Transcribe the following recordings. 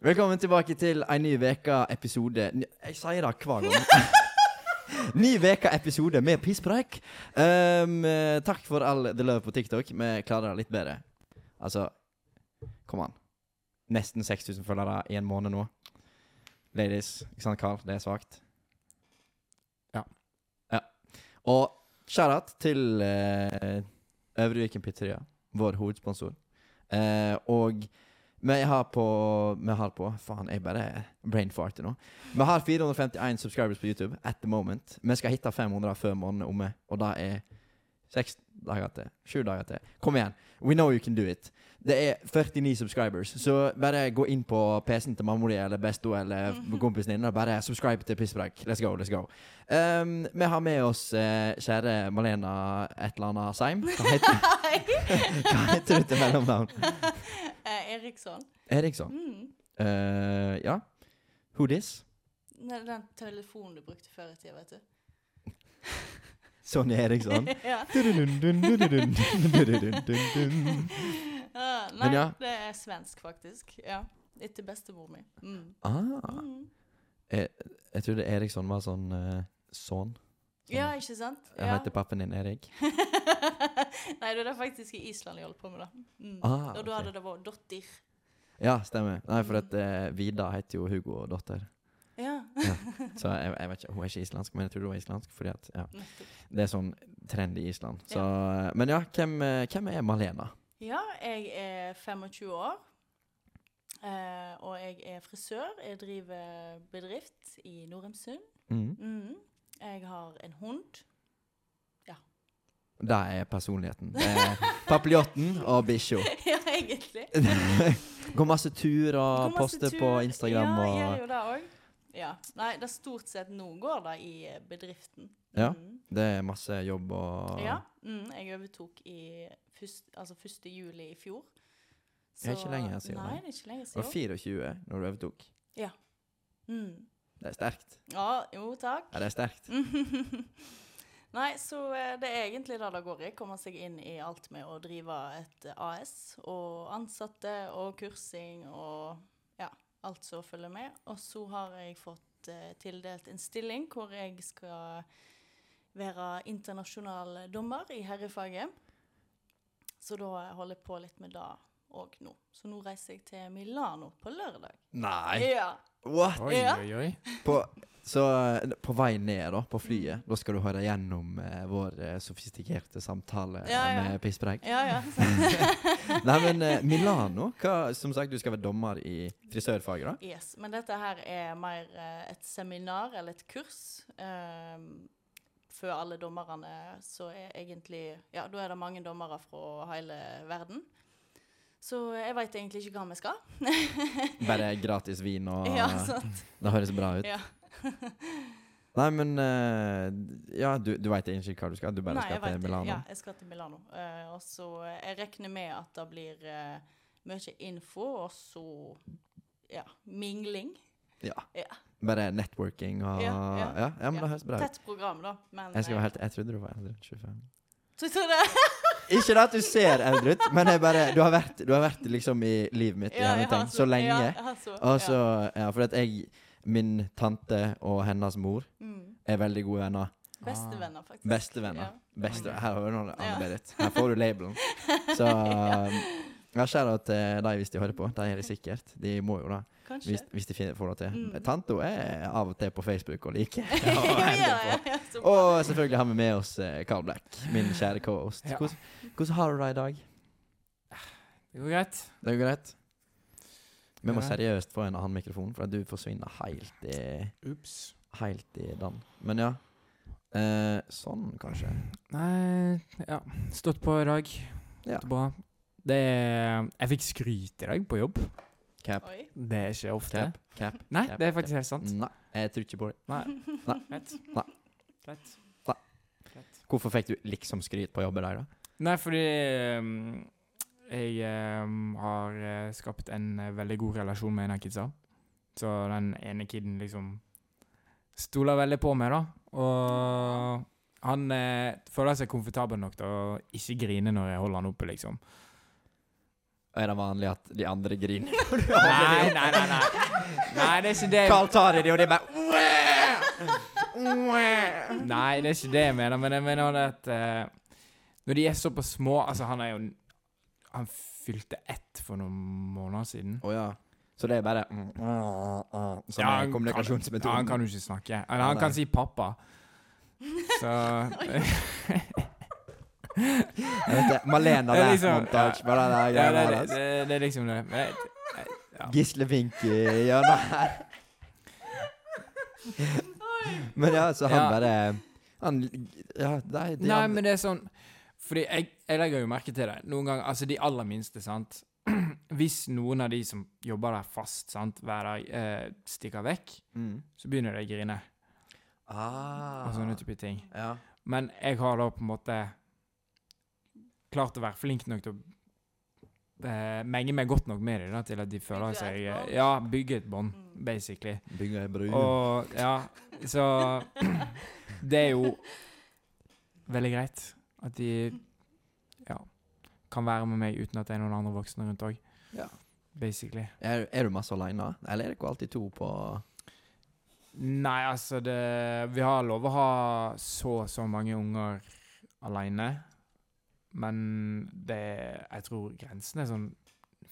Velkommen tilbake til ei ny veka episode Ny- Jeg sier det hver gang. ny veka episode med pisspreik. Um, eh, takk for all the love på TikTok. Vi klarer det litt bedre. Altså Kom an. Nesten 6000 følgere i en måned nå. Ladies. Ikke sant, Carl? Det er svakt. Ja. ja. Og shout-out til uh, Øvre Viken Pizzeria, vår hovedsponsor. Eh, og vi har på Vi har på Faen, jeg bare brainfarter nå. Vi har 451 subscribers på YouTube at the moment. Vi skal hitte 500 før måneden er omme, og det er seks dager til. Sju dager til. Kom igjen. We know you can do it. Det er 49 subscribers, så bare gå inn på PC-en til mamma di eller besto eller kompisen din og bare subscribe til Pisspreik. Let's go, let's go. Um, vi har med oss eh, kjære Malena et eller annet Seim. Hva heter, hva heter du til mellomnavn? Eh, Eriksson. Eriksson. Mm. Eh, ja. Who this? Det er den telefonen du brukte før i tida, vet du. Sonja Eriksson. ja. Ah, nei, Men ja. det er svensk, faktisk. Ja. Etter bestemor mi. Mm. ah, Mm. jeg trodde Eriksson var sånn eh, sånn. Ja, ikke sant? Jeg Ja. heter pappen din Erik. nei, det er faktisk i Island jeg holdt på med, da. Mm. Ah, Og ok. da hadde det vært dotter. Ja, stemmer. Nei, for at eh, Vida heter jo Hugo og datter. Ja. Så jeg, jeg vet ikke, hun er ikke islandsk, men jeg tror hun er islandsk. Fordi at, ja, Nettopp. Det er sånn trend i Island. Så, Men ja, hvem, eh, hvem er Malena? Ja, jeg er 25 år. Eh, og jeg er frisør. Jeg driver bedrift i Norheimsund. Mm. Mm. Jeg har en hund. Det er personligheten. Det er Papiljotten og bikkja. ja, egentlig. Går masse tur Går og masse poster på tur. Instagram ja, og jeg gjør det også. Ja. Nei, det er stort sett nå går det i eh, bedriften. Ja. Ah. Mm. Det er masse jobb og ja. Mm, jeg overtok i først, altså 1. juli i fjor. Det er ikke lenge siden, Nei, nei. det er ikke lenge Du var siden. 24 når du overtok. Mm. Det er sterkt. Ja, jo, takk. Ja, det er sterkt. Mm. Nei, så eh, det er egentlig det det går i. Komme seg inn i alt med å drive et eh, AS, og ansatte og kursing og ja, alt som følger med. Og så har jeg fått eh, tildelt en stilling hvor jeg skal være internasjonal dommer i herrefaget. Så da holder jeg på litt med det òg nå. Så nå reiser jeg til Milano på lørdag. Nei! Ja. What?! Oi, Ja. oi, oi. På, så eh, på vei ned, da, på Mm. flyet, da skal du høre gjennom eh, vår eh, sofistikerte samtale eh, Ja, ja. med pisspreik. ja, ja. Nei, men eh, Milano hva, Som sagt, du skal være dommer i frisørfaget, da? Yes, men dette her er mer eh, et seminar eller et kurs. ehm, før alle dommerne, så er egentlig Ja, da er det mange dommere fra hele verden. Så jeg veit egentlig ikke hva vi skal. Bare gratis vin og Ja, sant. Det høres bra ut. Ja. Nei, men eh, Ja, du, du veit egentlig ikke hva du skal? Du bare Nei, jeg skal vet til det. Milano? Ja, jeg skal til Milano. Eh, og så eh, jeg regner med at det blir eh, mye info, og så ja, mingling. Ja. Ja. Bare networking og Ja, Ja, ja. ja. men det høres bra ut. Tett program, da. Men Jeg skal være eh, helt Jeg trodde du var eldre enn 25. Så, så det, Ikke det at du ser eldre ut, men jeg bare Du har vært, du har vært liksom i livet mitt i Ja, jeg har hermetegn så lenge. Ja, jeg har så, Og ja. så Ja, for at jeg Min tante og hennes mor Mm. er veldig gode venner. Bestevenner, faktisk. Bestevenner. Ja. Ah. Beste, her har du noe Ja. annerledes. Her får du labelen. Så um, ja, kjære til de hvis de hører på. De gjør det sikkert. De må jo det. Kanskje. Hvis, hvis de finner, får det til. Mm. Tante hun er av og til på Facebook og liker. ja, Og ja, veldig på. ja, ja, så bra. Og selvfølgelig har vi med oss eh, Carl Black, min kjære co-host. Ja. Hvordan, hvordan har du det i dag? Det går greit. Det går greit? Vi må Ja. seriøst få en annen mikrofon, for at du forsvinner helt i, Ups. helt i den. Men ja. Eh, sånn, kanskje. Nei, ja. Stått på i dag. Ja. Stått Bra. Det er, jeg fikk skryt i dag på jobb. Cap. Oi. Det er ikke ofte. Cap. Cap. Nei, Cap, det er faktisk helt sant. Nei, jeg tror ikke på det. Nei. Nei. Greit. Nei. Greit. Nei. Greit. Hvorfor fikk du liksom skryt på jobb i dag, da? Nei, fordi ehm, jeg ehm, har eh, skapt en eh, veldig god relasjon med en av kidsa. Så den ene kiden liksom stoler veldig på meg, da. Og han eh, føler seg komfortabel nok til å ikke grine når jeg holder han oppe, liksom. Er det vanlig at de andre griner? når du Nei, holder det nei, nei. Nei, nei det er ikke det opp? Carl tar i det, og det er bare Nei, det er ikke det jeg mener, men jeg mener det at eh, Når de er såpass små Altså, han er jo Han fylte ett for noen måneder siden. Å ja. Så det er bare mm, Som Ja, er han kommunikasjonsmetoden. Ja, han kan jo ikke snakke. Eller Ja, han kan nei. si 'pappa'. Så Jeg vet det, Malena Det er der, liksom- montage. Bare den der ja, det, greia det, der. det, det er liksom det. Men jeg- ja. Gisle Fink i hjørnet her. Men ja, så han Ja. bare Han Ja, nei, de Nei, andre- men det er sånn Fordi jeg, jeg legger jo merke til det noen ganger. Altså, de aller minste, sant. Hvis noen av de som jobber der fast sant, hver dag, eh, stikker vekk, mm. så begynner de å grine. ah. Og sånne type ting. Ja. Men jeg har da på en måte klart å være flink nok til å eh, menge meg godt nok med dem da, til at de føler Bygge seg et bånd. Ja, bygge et bånd, Mm. basically. Bygger ei bru. Og ja, så Det er jo veldig greit at de ja, kan være med meg uten at det er noen andre voksne rundt òg. Ja. Basically. Er, er du masse aleine, eller er dere alltid to på Nei, altså det Vi har lov å ha så og så mange unger aleine. Men det Jeg tror grensen er sånn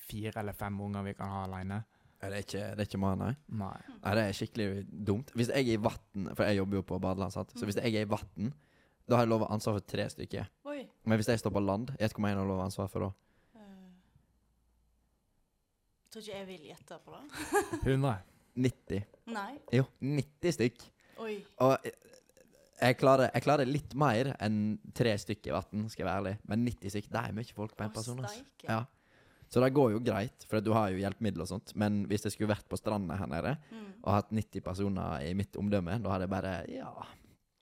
fire eller fem unger vi kan ha aleine. Er det ikke, det er ikke meg, nei? Nei. Nei, det er skikkelig dumt. Hvis jeg er i vann, for jeg jobber jo på badeland, sant? så hvis Mm. jeg er i vann, da har jeg lov å ha ansvar for tre stykker. Oi. Men hvis jeg står på land, jeg kommer jeg å ha lov å ha ansvar for da. eh, tror ikke jeg vil gjette på det. 100. 90. Nei. Jo, 90 stykk. Oi. Og jeg- jeg klarer, jeg klarer litt mer enn tre stykk i vann, skal jeg være ærlig. Men 90 stykk, det er mye folk på en Å, person. ass. steike. Ja. Så det går jo greit, for du har jo hjelpemidler og sånt. Men hvis jeg skulle vært på stranda her nede Mm. og hatt 90 personer i mitt omdømme, da hadde jeg bare ja,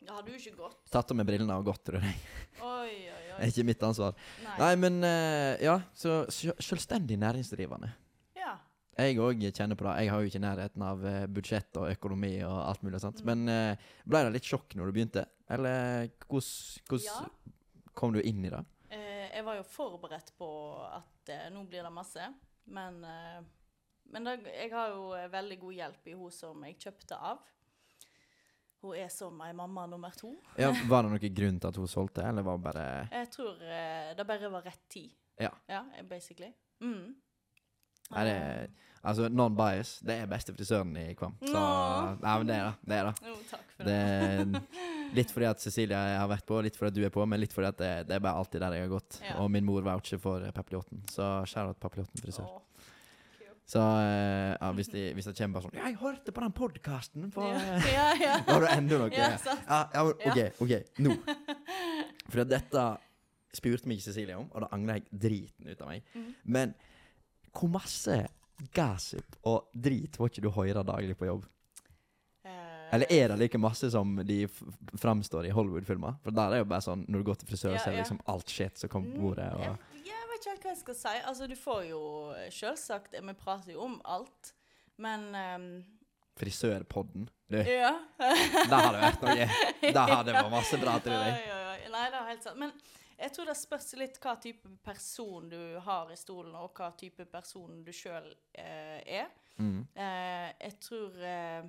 Da har du ikke gått. tatt av meg brillene og gått, tror jeg. Oi, oi, Det oi. er ikke mitt ansvar. Nei. Nei, men eh, ja, så sj- selvstendig næringsdrivende. Ja. Jeg òg kjenner på det. Jeg har jo ikke nærheten av eh, budsjett og økonomi og alt mulig Mm. sånt. Men eh, ble det litt sjokk når du begynte? Eller hvordan hvordan Ja. kom du inn i det? Eh, jeg var jo forberedt på at eh, nå blir det masse, men, eh, men da, jeg har jo eh, veldig god hjelp i hun som jeg kjøpte av. Hun er som ei mamma nummer to. Ja, var det noen grunn til at hun solgte, eller var det bare Jeg tror eh, det bare var rett tid. Ja. ja eh, basically. Mm. Nei, det Ah. Altså, non-bias, det er beste frisøren i Kvam. Så Nå. Nei, men det er det. Det er det. Jo, takk for Det det. er litt fordi at Cecilie har vært på, litt fordi at du er på, men litt fordi at det, det er bare alltid der jeg har gått. Ja. Og min mor voucher for eh, papiljotten, så skjær ut papiljotten frisør. Å, Så eh, ja, hvis, de, hvis det kommer bare sånn 'Jeg hørte på den podkasten på Ja, ja, ja. Da har du enda noe. Ja, Ja, sant. ja, men OK, OK, nå. For at dette spurte meg Cecilie om, og da angrer jeg driten ut av meg. Mm. Men hvor masse gossip og drit får ikke du høre daglig på jobb? Eh, Eller er det like masse som de f framstår i Hollywood-filmer? For der er jo bare sånn når du går til frisør, Ja, så er ja. Mm, det liksom alt shit som kommer på bordet. Jeg, Og, jeg vet ikke helt hva jeg skal si. Altså, du får jo selvsagt eh, Vi prater jo om alt, men Frisørpodden. Du, eh, Ja. der har det vært noe. Der har det vært masse bra, tror jeg. Oi, oi, oi. Nei, det er helt sant. Men jeg tror det spørs litt hva type person du har i stolen, og hva type person du sjøl eh, er. Mm. Eh, jeg tror eh,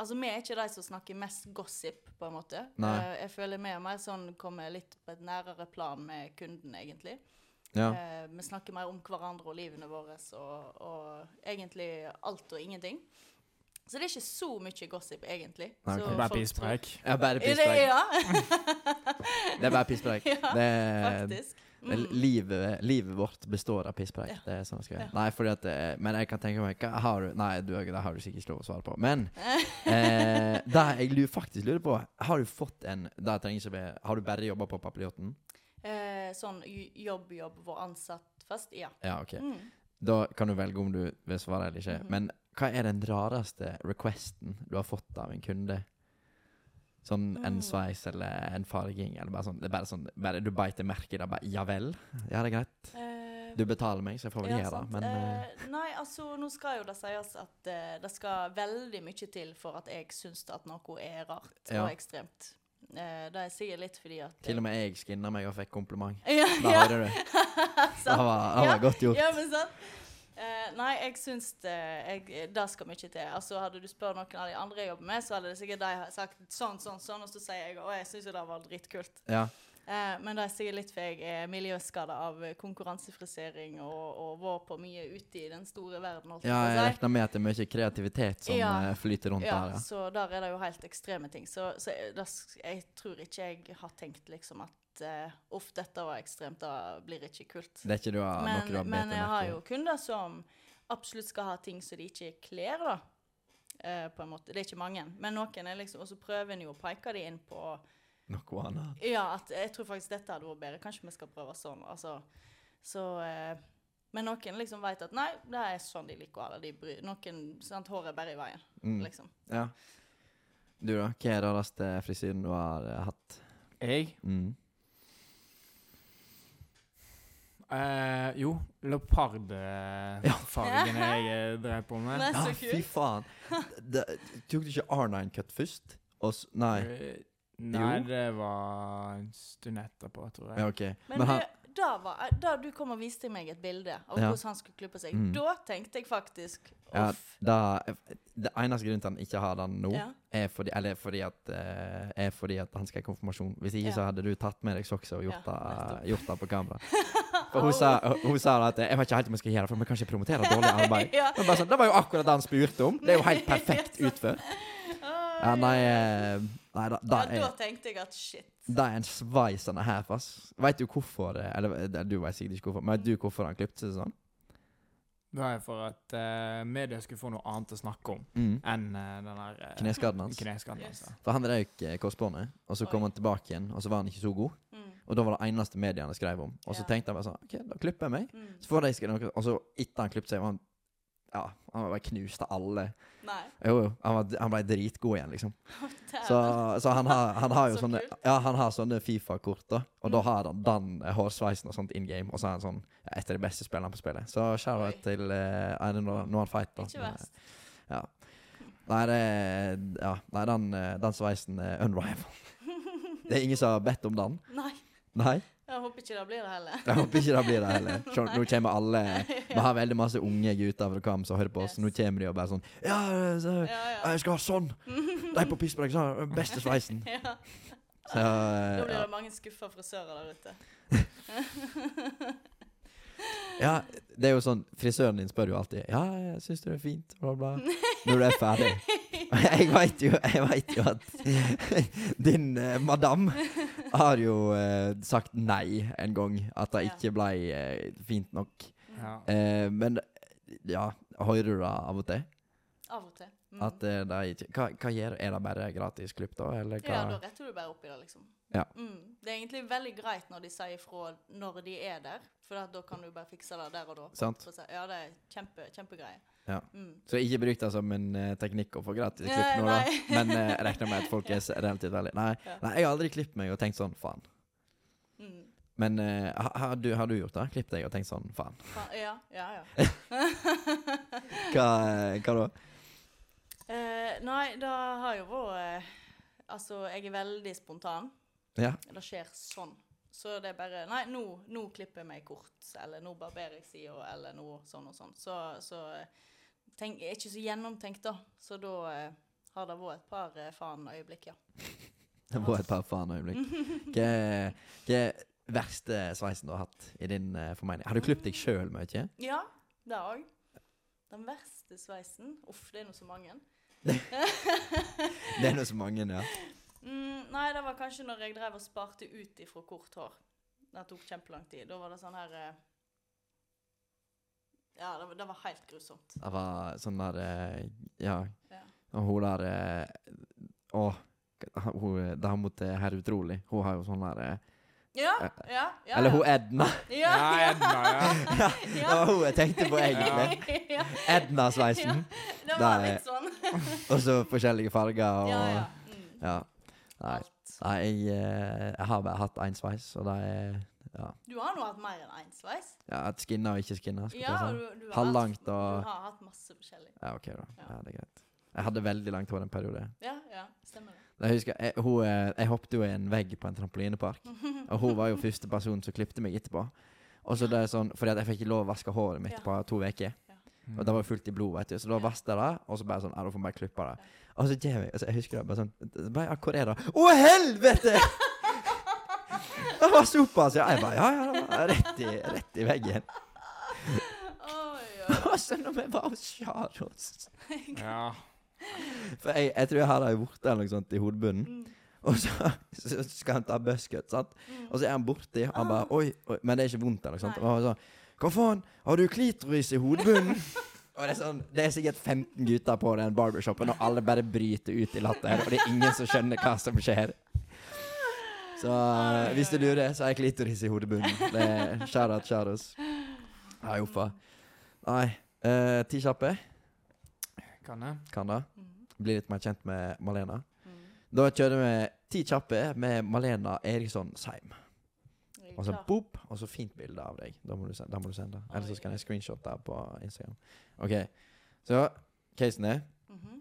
Altså, vi er ikke de som snakker mest gossip, på en måte. Nei. Eh, jeg føler vi er mer sånn kommer litt på et nærere plan med kunden, egentlig. Ja. Eh, vi snakker mer om hverandre og livene våre og, og egentlig alt og ingenting. Så det er ikke så mye gossip, egentlig. Nei, ok. Det Så Bare folk tror- pisspreik. Ja, bare Er det- pisspreik. Ja, Det er bare pisspreik. Ja, det, eh, faktisk. Mm. det, eh, livet, livet vårt består av pisspreik. Det er sånn jeg skal gjøre. Nei, fordi at eh, Men jeg kan tenke meg hva har du, Nei, du, det har du sikkert ikke lov å svare på. Men eh, det jeg lurer, faktisk lurer på Har du fått en det trenger ikke være, Har du bare jobba på Papiljoten? Eh, sånn j- jobb, jobb, vår ansatt fast, ja. Ja, OK. Mm. Da kan du velge om du vil svare eller ikke. Men hva er den rareste requesten du har fått av en kunde? Sånn Mm. en sveis eller en farging eller bare sånn. Det er bare sånn bare, Du beiter merke i det. Bare ja vel? Ja, det er greit. Eh, Du betaler meg, så jeg får vel ja, gjøre det. sant. Men eh, eh, Nei, altså, nå skal jo det sies at eh, det skal veldig mye til for at jeg syns at noe er rart Ja. og ekstremt. Eh, det er sikkert litt fordi at Til og med jeg skinna meg og fikk kompliment. ja, Da ja. hører du. Det Sant. var, det var godt gjort. Ja, men sant? Eh, nei, jeg syns det, jeg, det skal mye til. Altså, hadde du spurt noen av de andre jeg jobber med, så hadde det sikkert de sagt sånn, sånn, sånn, og så sier jeg å, jeg syns jo det var dritkult. Ja. Eh, men det er sikkert litt for jeg er miljøskada av konkurransefrisering og, og var på mye ute i den store verden. holdt ja, på å jeg si. regner med at det er mye kreativitet som Ja. eh, flyter rundt ja, der. Ja. Så der er det jo helt ekstreme ting. Så, så jeg- da s- jeg tror ikke jeg har tenkt liksom at eh, uff, dette var ekstremt, da blir det ikke kult. Det er ikke du har, noe du Men, har men bitt jeg har merke i. jo kunder som absolutt skal ha ting som de ikke kler, da. Eh, på en måte. Det er ikke mange, men noen er liksom Og så prøver en jo å peke de inn på Noe annet. Ja, at jeg tror faktisk dette hadde vært bedre. Kanskje vi skal prøve sånn. Altså, så eh, Men noen liksom veit at nei, det er sånn de liker å ha det. De bryr, noen, sant, Håret er bare i veien, Mm. liksom. Ja. Du, da? Hva er den rareste frisyren du har eh, hatt? Jeg? Mm. Eh, jo, leopardfargene jeg eh, drev på med. Nei, Ja, så Ah, fy kult. faen! Det, tok du ikke R9-cut først? Og s nei. Eh, Nei, Jo. det var en stund etterpå, tror jeg. Ja, ok. Men, Men han, du, da, var, eh, da du kom og viste meg et bilde av Ja. hvordan han skulle klippe seg, Mm. da tenkte jeg faktisk Ja, uff. da, eh, det eneste grunnen til han ikke har den nå, Ja. er, fordi, eller fordi at, eh, er fordi at han skal i konfirmasjon. Hvis ikke Ja. så hadde du tatt med deg sokser og gjort, Ja, det, gjort det på kamera. For hun sa, hun sa da at 'jeg vet ikke helt om jeg skal gjøre det, for vi kan ikke promotere dårlig arbeid'. Ja. Men bare sånn, Det var jo akkurat det han spurte om! Det er jo helt perfekt utført. Ja, nei, eh, nei da, da Ja, er, da tenkte jeg at shit. det er en sveis han er her, ass. Veit du hvorfor eh, Eller eh, du vet sikkert ikke hvorfor, men vet du hvorfor han klipte seg sånn? Det var jo for at eh, media skulle få noe annet å snakke om Mm. enn eh, den der eh, altså. Kneskaden hans. kneskaden hans. Yes. da. For han røyk eh, korsbåndet, og så kom Oi. han tilbake igjen, og så var han ikke så god. Mm. Og da var det eneste mediene skrev om. Og så Ja. tenkte han bare sånn OK, da klipper jeg meg. Mm. Så får de skrive noe Og så etter han klippet seg, var han Ja, han bare knuste alle. Nei. Jo, jo. Han, var, han ble dritgod igjen, liksom. dæven. Så, så han, har, han har jo Så sånne kult. Ja, han har sånne Fifa-kort, da. Og da Mm. har han den eh, hårsveisen og sånt in game, og så er han sånn ja, et av de beste spillerne på spillet. Så Oi. shout-out til eh, I don't know, Noen Fight, da. Eh, Ikke verst. Nei, det er Ja, nei, den, eh, den sveisen er unrivaled. Det er ingen som har bedt om den. Nei, Nei. jeg håper ikke det blir det heller. Jeg håper ikke det blir det heller. Sjå, nå kommer alle Vi har veldig masse unge gutter fra Kam som hører på oss. Nå kommer de og bare sånn Ja, så, Ja, ja. jeg skal ha sånn! De på Pisspreik sa den beste sveisen. ja. Så, Da blir Eh, ja. det mange skuffa frisører der ute. ja, det er jo sånn Frisøren din spør jo alltid Ja, jeg syns du er fint, bla, bla. Når du er ferdig. Jeg veit jo, jeg vet jo at din eh, madam har jo eh, sagt nei en gang. At det ikke ble eh, fint nok. Ja. Eh, men ja, hører du det av og til? Av og til. Mm. At eh, det er ikke Hva, hva gjør Er det bare gratis klipp, da? Eller hva? ja, da retter du bare opp i det, liksom. Ja. Mm. Det er egentlig veldig greit når de sier ifra når de er der, for at da kan du bare fikse det der og da. Sant? Så å si- Ja, det er kjempe, kjempegreie. Ja. Mm. Så ikke bruk det som en eh, teknikk å få gratis Nei, klipp nå, da. nei. Men eh, jeg regner med at folk er s- relativt veldig Nei, Ja. nei jeg har aldri klippet meg og tenkt sånn, faen. Mm. Men eh, ha- har, du, har du gjort det? Klippet deg og tenkt sånn, faen. Fa- Ja, ja, ja. Hva, hva da? Eh, nei, det har jo vært eh, Altså, jeg er veldig spontan. Ja. Det skjer sånn. Så det er bare Nei, nå, nå klipper jeg meg kort. Eller nå barberer jeg sida, eller nå sånn og sånn. Så, så eh, tenk, jeg er ikke så gjennomtenkt, da. Så da eh, har det vært et par eh, faen-øyeblikk, ja. Det var et par faen øyeblikk. Hva hva er verste sveisen du har hatt i din eh, formening? Har du klippet deg sjøl mye? Ja, det òg. Den verste sveisen Uff, det er nå så mange. Det er nå så mange, ja. Mm, nei, det var kanskje når jeg drev og sparte ut ifra kort hår. Det tok kjempelang tid. Da var det sånn her eh, Ja, det var, det var helt grusomt. Det var sånn der eh, Ja. Ja. Og hun der eh, Å, h- hun eh, det er hun mot eh, Herr Utrolig. Hun har jo sånn der eh, Ja, ja, ja. Eller hun ja. Edna. Ja, Ja, ja, Edna, ja, ja. det var hun jeg tenkte på, egentlig. ja. Edna-sveisen. Det var Det er- litt sånn. Og så forskjellige farger og Ja, Ja. ja. Mm. Nei. Alt. Nei, jeg, eh, jeg har bare hatt én sveis, og det er Du har nå hatt mer enn én sveis. ja, at skinna og ikke skinna. skal jeg Ja, si du, sånn. du, har Halvlangt hatt, og- du har hatt masse forskjellig. Ja, OK, da. Ja. Ja, det er greit. Jeg hadde veldig langt hår en periode. Ja, ja, Ja, stemmer det. Jeg husker, jeg, hun, eh, jeg hoppet jo i en vegg på en trampolinepark, og hun var jo første person som klippte meg etterpå. Og så det er sånn, fordi at jeg fikk ikke lov å vaske håret mitt Ja. på to uker. Og det var jo fullt i blod, vet du. Så da Ja. vasket jeg det, og så bare sånn, ja, da får jeg bare klippe det. Og så gjør jeg, altså, jeg husker det, bare sånn, det bare, ja, hvor er det? Å, helvete! det var såpass, ja. Jeg bare, ja, ja, det var rett i, rett i veggen. Oi, oi. Og så når vi var hos Charles. Ja. For jeg, jeg tror jeg hadde ei vorte eller noe sånt i hodebunnen. Og så, så skal han ta buzzcut, sant? Og så er han borti, og han bare oi, oi, Men det er ikke vondt, eller noe sånt. Og Nei. han sånn Hva faen, har du klitoris i hodebunnen? og det er sånn Det er sikkert 15 gutter på den barbershopen, og alle bare bryter ut i latter, og det er ingen som skjønner hva som skjer. Så Oi, hvis du oi, oi. lurer, så har jeg klitoris i hodebunnen. Det er Sharat Sharos. Nei, uffa. Nei. eh, ti kjappe. Kan jeg? Kan det. Mm. Bli litt mer kjent med Malena. Mm. Da kjører vi ti kjappe med Malena Eriksson Seim. Jeg er Og så klar. boop, og så fint bilde av deg. Da må du sende. Da må du sende. Eller så skal jeg screenshotte på Instagram. OK. Så casen er Mhm.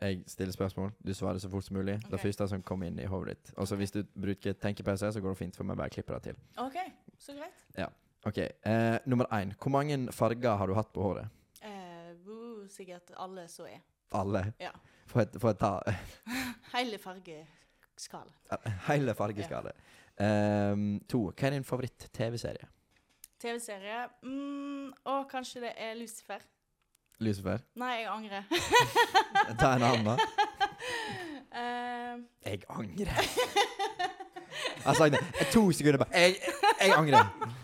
jeg stiller spørsmål, du svarer så fort som mulig. Det Ok. første som kommer inn i hodet ditt. Og så hvis du bruker tenkepause, så går det fint, for vi bare klipper det til. OK, så greit. OK. Eh, nummer én. Hvor mange farger har du hatt på håret? Eh, woo, sikkert alle som er. Alle. Ja. For et, for et ta Hele fargeskala. Hele fargeskala. Ehm, to. Hva er din favoritt-TV-serie? TV-serie mm, Og kanskje det er Lucifer. Lucifer? Nei, jeg angrer. Ta en annen, da. Eh, Jeg angrer. Altså, Jeg sa det i to sekunder bare Jeg, jeg angrer.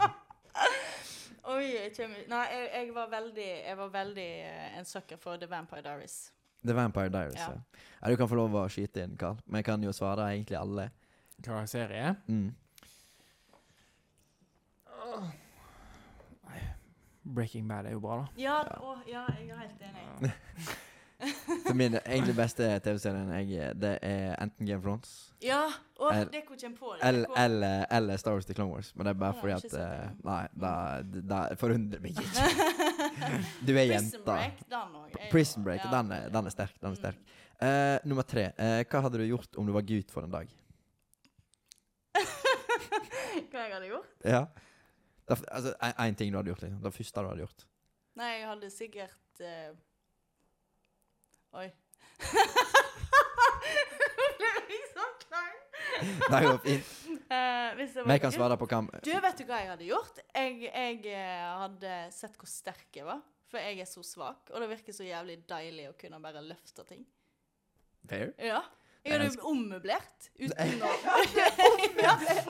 oi, jeg kommer Nei, jeg, jeg var veldig, jeg var veldig eh, en sucker for The Vampire Diaries. The Vampire Diaries. Ja. Ja. Ja, du kan få lov å skyte inn, Carl. Men jeg kan jo svare egentlig alle. Hva serie? Mm. Breaking Bad er jo bra, da. Ja, Ja. å, ja jeg er helt enig. For min egentlig beste TV-serien jeg det er enten Game of Thrones Ja, og Er- det kom jeg på. det. eller, Hvor- eller, eller Star Wars The Clone Wars. Men det er bare Ja, fordi ikke at sett eh, det. Nei, det forundrer meg ikke. Du er Prison jenta. Break, den òg. Prison Break. Den er, den er sterk. Mm. Den er sterk. Eh, nummer tre. Eh, hva hadde du gjort om du var gutt for en dag? Hva jeg hadde gjort? Ja. Det, er- altså, en, en ting du hadde gjort, liksom. Det første du hadde gjort. Nei, jeg hadde sikkert eh, Oi. Nå ble jeg så klein. Nei, det var fint. Eh, hvis jeg Men jeg kan gutt- svare på hva Du, vet du hva jeg hadde gjort? Jeg, jeg eh, hadde sett hvor sterk jeg var. For jeg er så svak, og det virker så jævlig deilig å kunne bare løfte ting. Fair. Ja. Jeg Jeg hadde ommøblert uten å ja,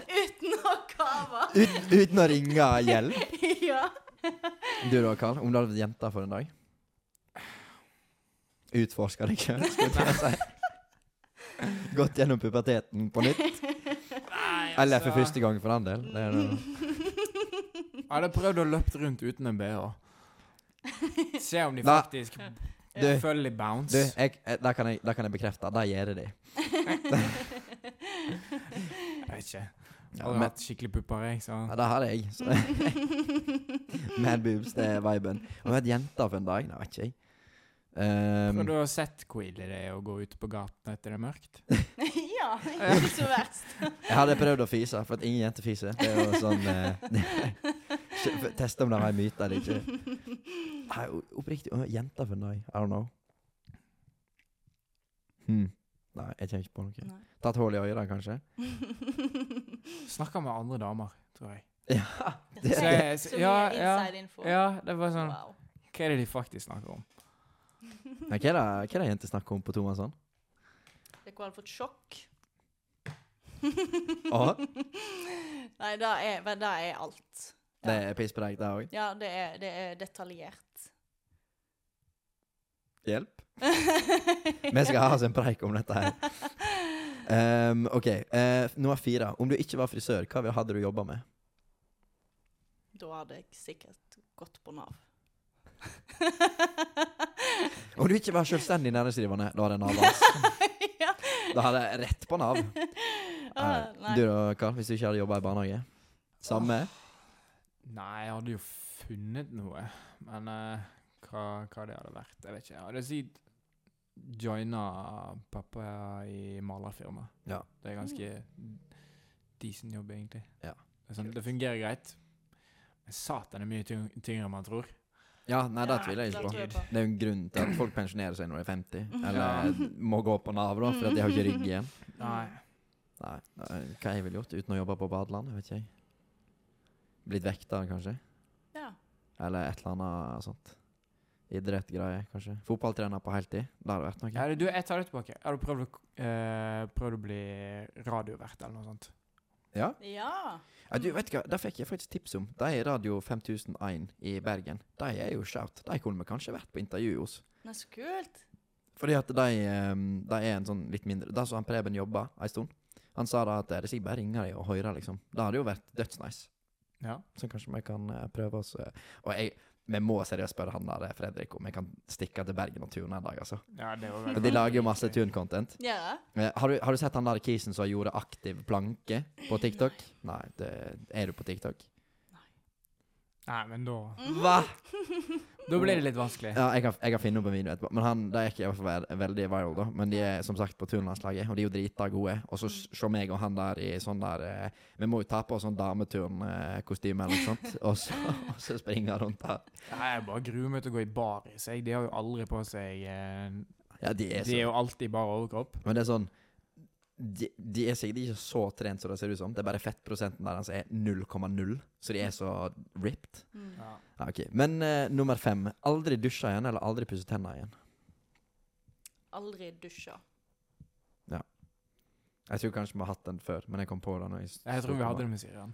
Uten å kave. Uten, uten å ringe hjelp. ja. Du da, Karl. Om du hadde vært jente for en dag? Utforska deg sjøl, skal jeg til å si. Gått gjennom puberteten på nytt. Eller altså. Altså. for første gang, for den del. Det er det. Jeg hadde prøvd å løpe rundt uten en BH. Se om de Nei. faktisk Du. følger Du, bounce. jeg, jeg, der, kan jeg, der kan jeg bekrefte. Det gjør jeg det. Jeg vet ikke. Ja, Hadde men, hatt skikkelig pupper, jeg, så ja, det har jeg. Så. Mad boobs, det er viben. Om jeg hadde vært jente for en dag? Nei, vet ikke jeg. Um, Har du har sett hvor ille det er å gå ut på gaten etter det er mørkt? ja, ikke så verst. Jeg hadde prøvd å fise, for at ingen jenter fiser. Det er jo sånn eh, Teste om det var en myte eller ikke. Nei, o- oppriktig å, Jenter for nei. I don't know. Hmm. Nei, jeg kommer ikke på noe. Nei. Tatt hull i øynene, kanskje? Snakka med andre damer, tror jeg. Ja. Det Det, Så det. jeg- Så så- mye ja, ja, inside info. ja, det var sånn Wow. Hva er det de faktisk snakker om? Men hva er det, hva er det jenter snakker om på Tomasson? Det er hadde fått sjokk. Å? Nei, det er, men det er alt. Det er piss på deg, det òg. Ja, det er, det er detaljert. Hjelp. Vi skal ha oss en preik om dette her. Um, OK. eh, nummer fire. Om du ikke var frisør, hva hadde du jobba med? Da hadde jeg sikkert gått på Nav. Om du ikke var selvstendig næringsdrivende, da hadde jeg Nav. ass. ja. Da hadde jeg rett på Nav. Ah, Du nei. da, Karl, hvis du ikke hadde jobba i barnehage? Samme? Nei, jeg hadde jo funnet noe, men eh, hva, hva det hadde vært Jeg vet ikke. Jeg hadde sikkert joina pappa i malerfirma. Ja. Det er ganske decent jobb, egentlig. Ja. Det, er sånn, det fungerer greit. Men satan er mye tyng tyngre enn man tror. Ja, nei, det Ja, tviler jeg det ikke tror på. jeg på. Mm. Det er jo en grunn til at folk pensjonerer seg når de er 50, eller Ja. må gå på Nav, da, fordi at de har ikke rygg igjen. Nei. Nei, nei, Hva jeg ville gjort uten å jobbe på badeland, vet ikke jeg. Blitt vekter, kanskje? Ja. Eller et eller annet eh, sånt. Idrettgreier, kanskje. Fotballtrener på heltid. Det hadde vært Ja, noe. det- du, jeg tar det tilbake. Har du prøvd å, k- eh, prøvd å bli radiovert eller noe sånt? Ja. ja. Ja, du vet du hva, Det fikk jeg faktisk tips om. De i Radio 5001 i Bergen. De er jo shout. De kunne vi kanskje vært på intervju hos. Men så kult. Fordi at de, ehm, de er en sånn litt mindre Det som han Preben jobba ei stund, han sa da at eh, hvis jeg bare ringer dem og hører, liksom Det hadde jo vært dødsnice. Ja. Så kanskje vi kan eh, prøve oss eh, Og jeg, vi må seriøst spørre han der eh, Fredrik om vi kan stikke til Bergen og turne en dag, altså. ja det var For de lager jo masse turn-content. Ja. Eh, Har, du- har du sett han der kisen som gjorde aktiv planke på TikTok? Nei, det, er du på TikTok? Nei, men da Hva?! Da blir det litt vanskelig. Ja, jeg kan, jeg kan finne opp en video etterpå. Men han, De er ikke i hvert fall ve- veldig viral, da. Men de er som sagt på turnlandslaget, og de er jo drita gode. Og så s- se meg og han der i sånn der eh, Vi må jo ta på oss sånn dameturnkostyme eller noe sånt. Og så, og så springe rundt der. Nei, jeg bare gruer meg til å gå i baris. jeg. De har jo aldri på seg eh, Ja, de er De er så jo alltid bare overkropp. Men det er sånn de, de er sikkert ikke så trent som det ser ut som. Det er bare fettprosenten deres er 0,0, så de er så ripped. Mm. Ja. Ja, ok. Men eh, nummer fem. Aldri dusje igjen, eller aldri pusse tenna igjen. Aldri dusja. Jeg tror kanskje vi har hatt den før, men jeg kom på det når jeg s- Jeg tror sto vi på hadde det med Sirian.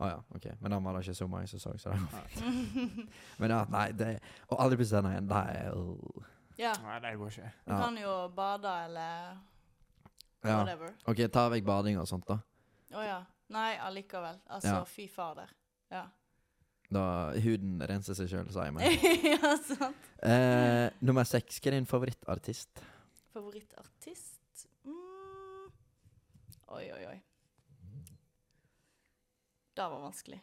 Ah, ja, ok. Men da var det ikke så mange som så, så det var fint. Men ja, nei, det Og aldri pusse tenna igjen. Nei, øh. Ja. Nei, det går ikke. Du Ja. kan jo bade eller ja. whatever. OK, ta vekk bading og sånt, da. Å ja. Nei, allikevel. Altså, Ja. fy fader. Ja. Da huden renser seg sjøl, sa jeg meg. ja, sant. Eh, nummer seks. Hva er din favorittartist? Favorittartist? Mm. Oi, oi, oi. Det var vanskelig.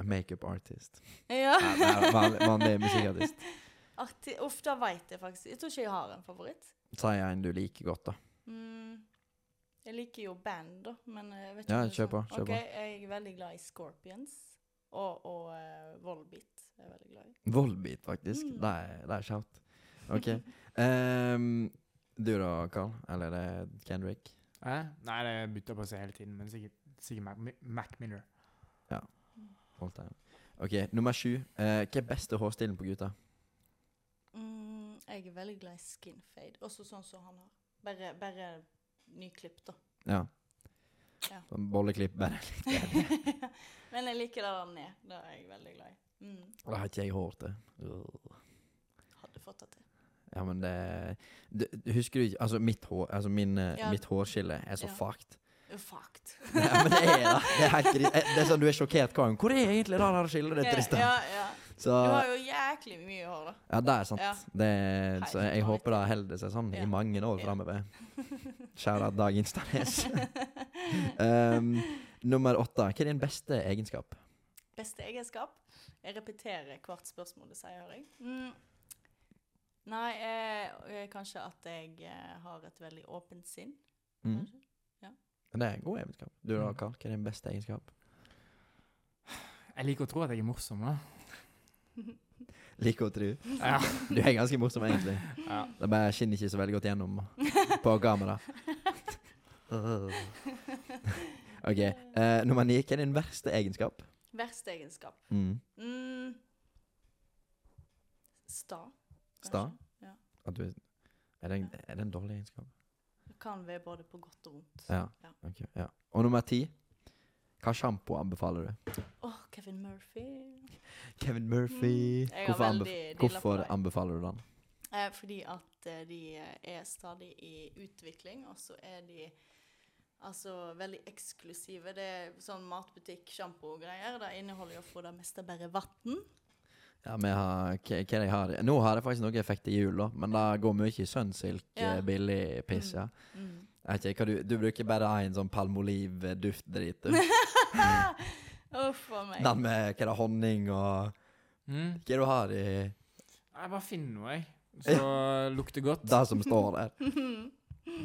Makeup artist. Ja. Nei, nei, vanlig, vanlig musikkartist. Arti Uff, da veit jeg faktisk. Jeg tror ikke jeg har en favoritt. Sier en du liker godt, da. Mm. Jeg liker jo band, da, men jeg vet ikke Ja, om det er kjør på, sånn. kjør på. Ok, Jeg er veldig glad i Scorpions og, og eh, Volbeat. er Jeg veldig glad i. Volbeat, faktisk. Mm. Det er, det er shout. OK. Ehm, du da, Carl? Eller er det Kendrick? Eh? Nei, det bytter på seg hele tiden, men sikkert, sikkert Mac, Mi- Mac Miller. Holdt jeg. OK, nummer sju. Eh, hva er beste hårstilen på gutta? Mm, jeg er veldig glad i skinfade, også sånn som han har. Bare, bare nyklipp, da. Ja. Ja. Sånn Bolleklipp, bare. men jeg liker det der ned. Det er jeg veldig glad i. Mm. Det har ikke jeg hår til. Øh. Hadde fått det til. Ja, men det du, du Husker du ikke Altså, mitt hår Altså, min, eh, Ja. mitt hårskille er så Ja. fucked. Fucked. Ja, men det er det. Det er helt trist. Eh, Det er sånn du er sjokkert hver gang. Hvor er egentlig det der skillet ditt, Tristan? Ja, ja. Så Du har jo jæklig mye hår, da. Ja, det er sant. Ja. Det, så jeg Helt håper det holder seg sånn Ja. i mange år Ja. framover. Skjæra Dag Instanes. um, nummer åtte. Hva er din beste egenskap? Beste egenskap? Jeg repeterer hvert spørsmål du sier, hører jeg. Mm. Nei, eh, eh, kanskje at jeg eh, har et veldig åpent sinn. Mm. kanskje. Det er en god egenskap. Du da, Mm. Karl? Hva er din beste egenskap? Jeg liker å tro at jeg er morsom, da. Liker å tro. Ja. Du er ganske morsom, egentlig. Ja. Det bare skinner ikke så veldig godt gjennom på kamera. OK. eh, nummer ni. Hva er din verste egenskap? Verste egenskap? Mm. Mm. Sta. kanskje. Sta? Ja. At du er, er, det en, er det en dårlig egenskap? Det Kan være både på godt og vondt. Åh, Ja. ok, ja. Og nummer ti. Hva sjampo anbefaler du? Kevin Murphy. Kevin Murphy. Mm, jeg har Hvorfor, anbef veldig dealer på hvorfor deg. anbefaler du den? Eh, fordi at eh, de eh, er stadig i utvikling, og så er de altså veldig eksklusive. Det er sånn matbutikk, sjampo og greier. Det inneholder jo for det meste bare vann. Ja, vi har, hva, hva jeg har Nå har jeg faktisk noe effekt i jula, men det går mye i Sunsilk, Ja. Mm. eh, billig piss. ja. Jeg vet ikke, hva du, du bruker bare en sånn palmoliv-duftdrit. du. Uff a meg. Den med hva er det, honning og Mm. Hva er det du har i Jeg bare finner noe, jeg. Så lukter godt. Det som står der.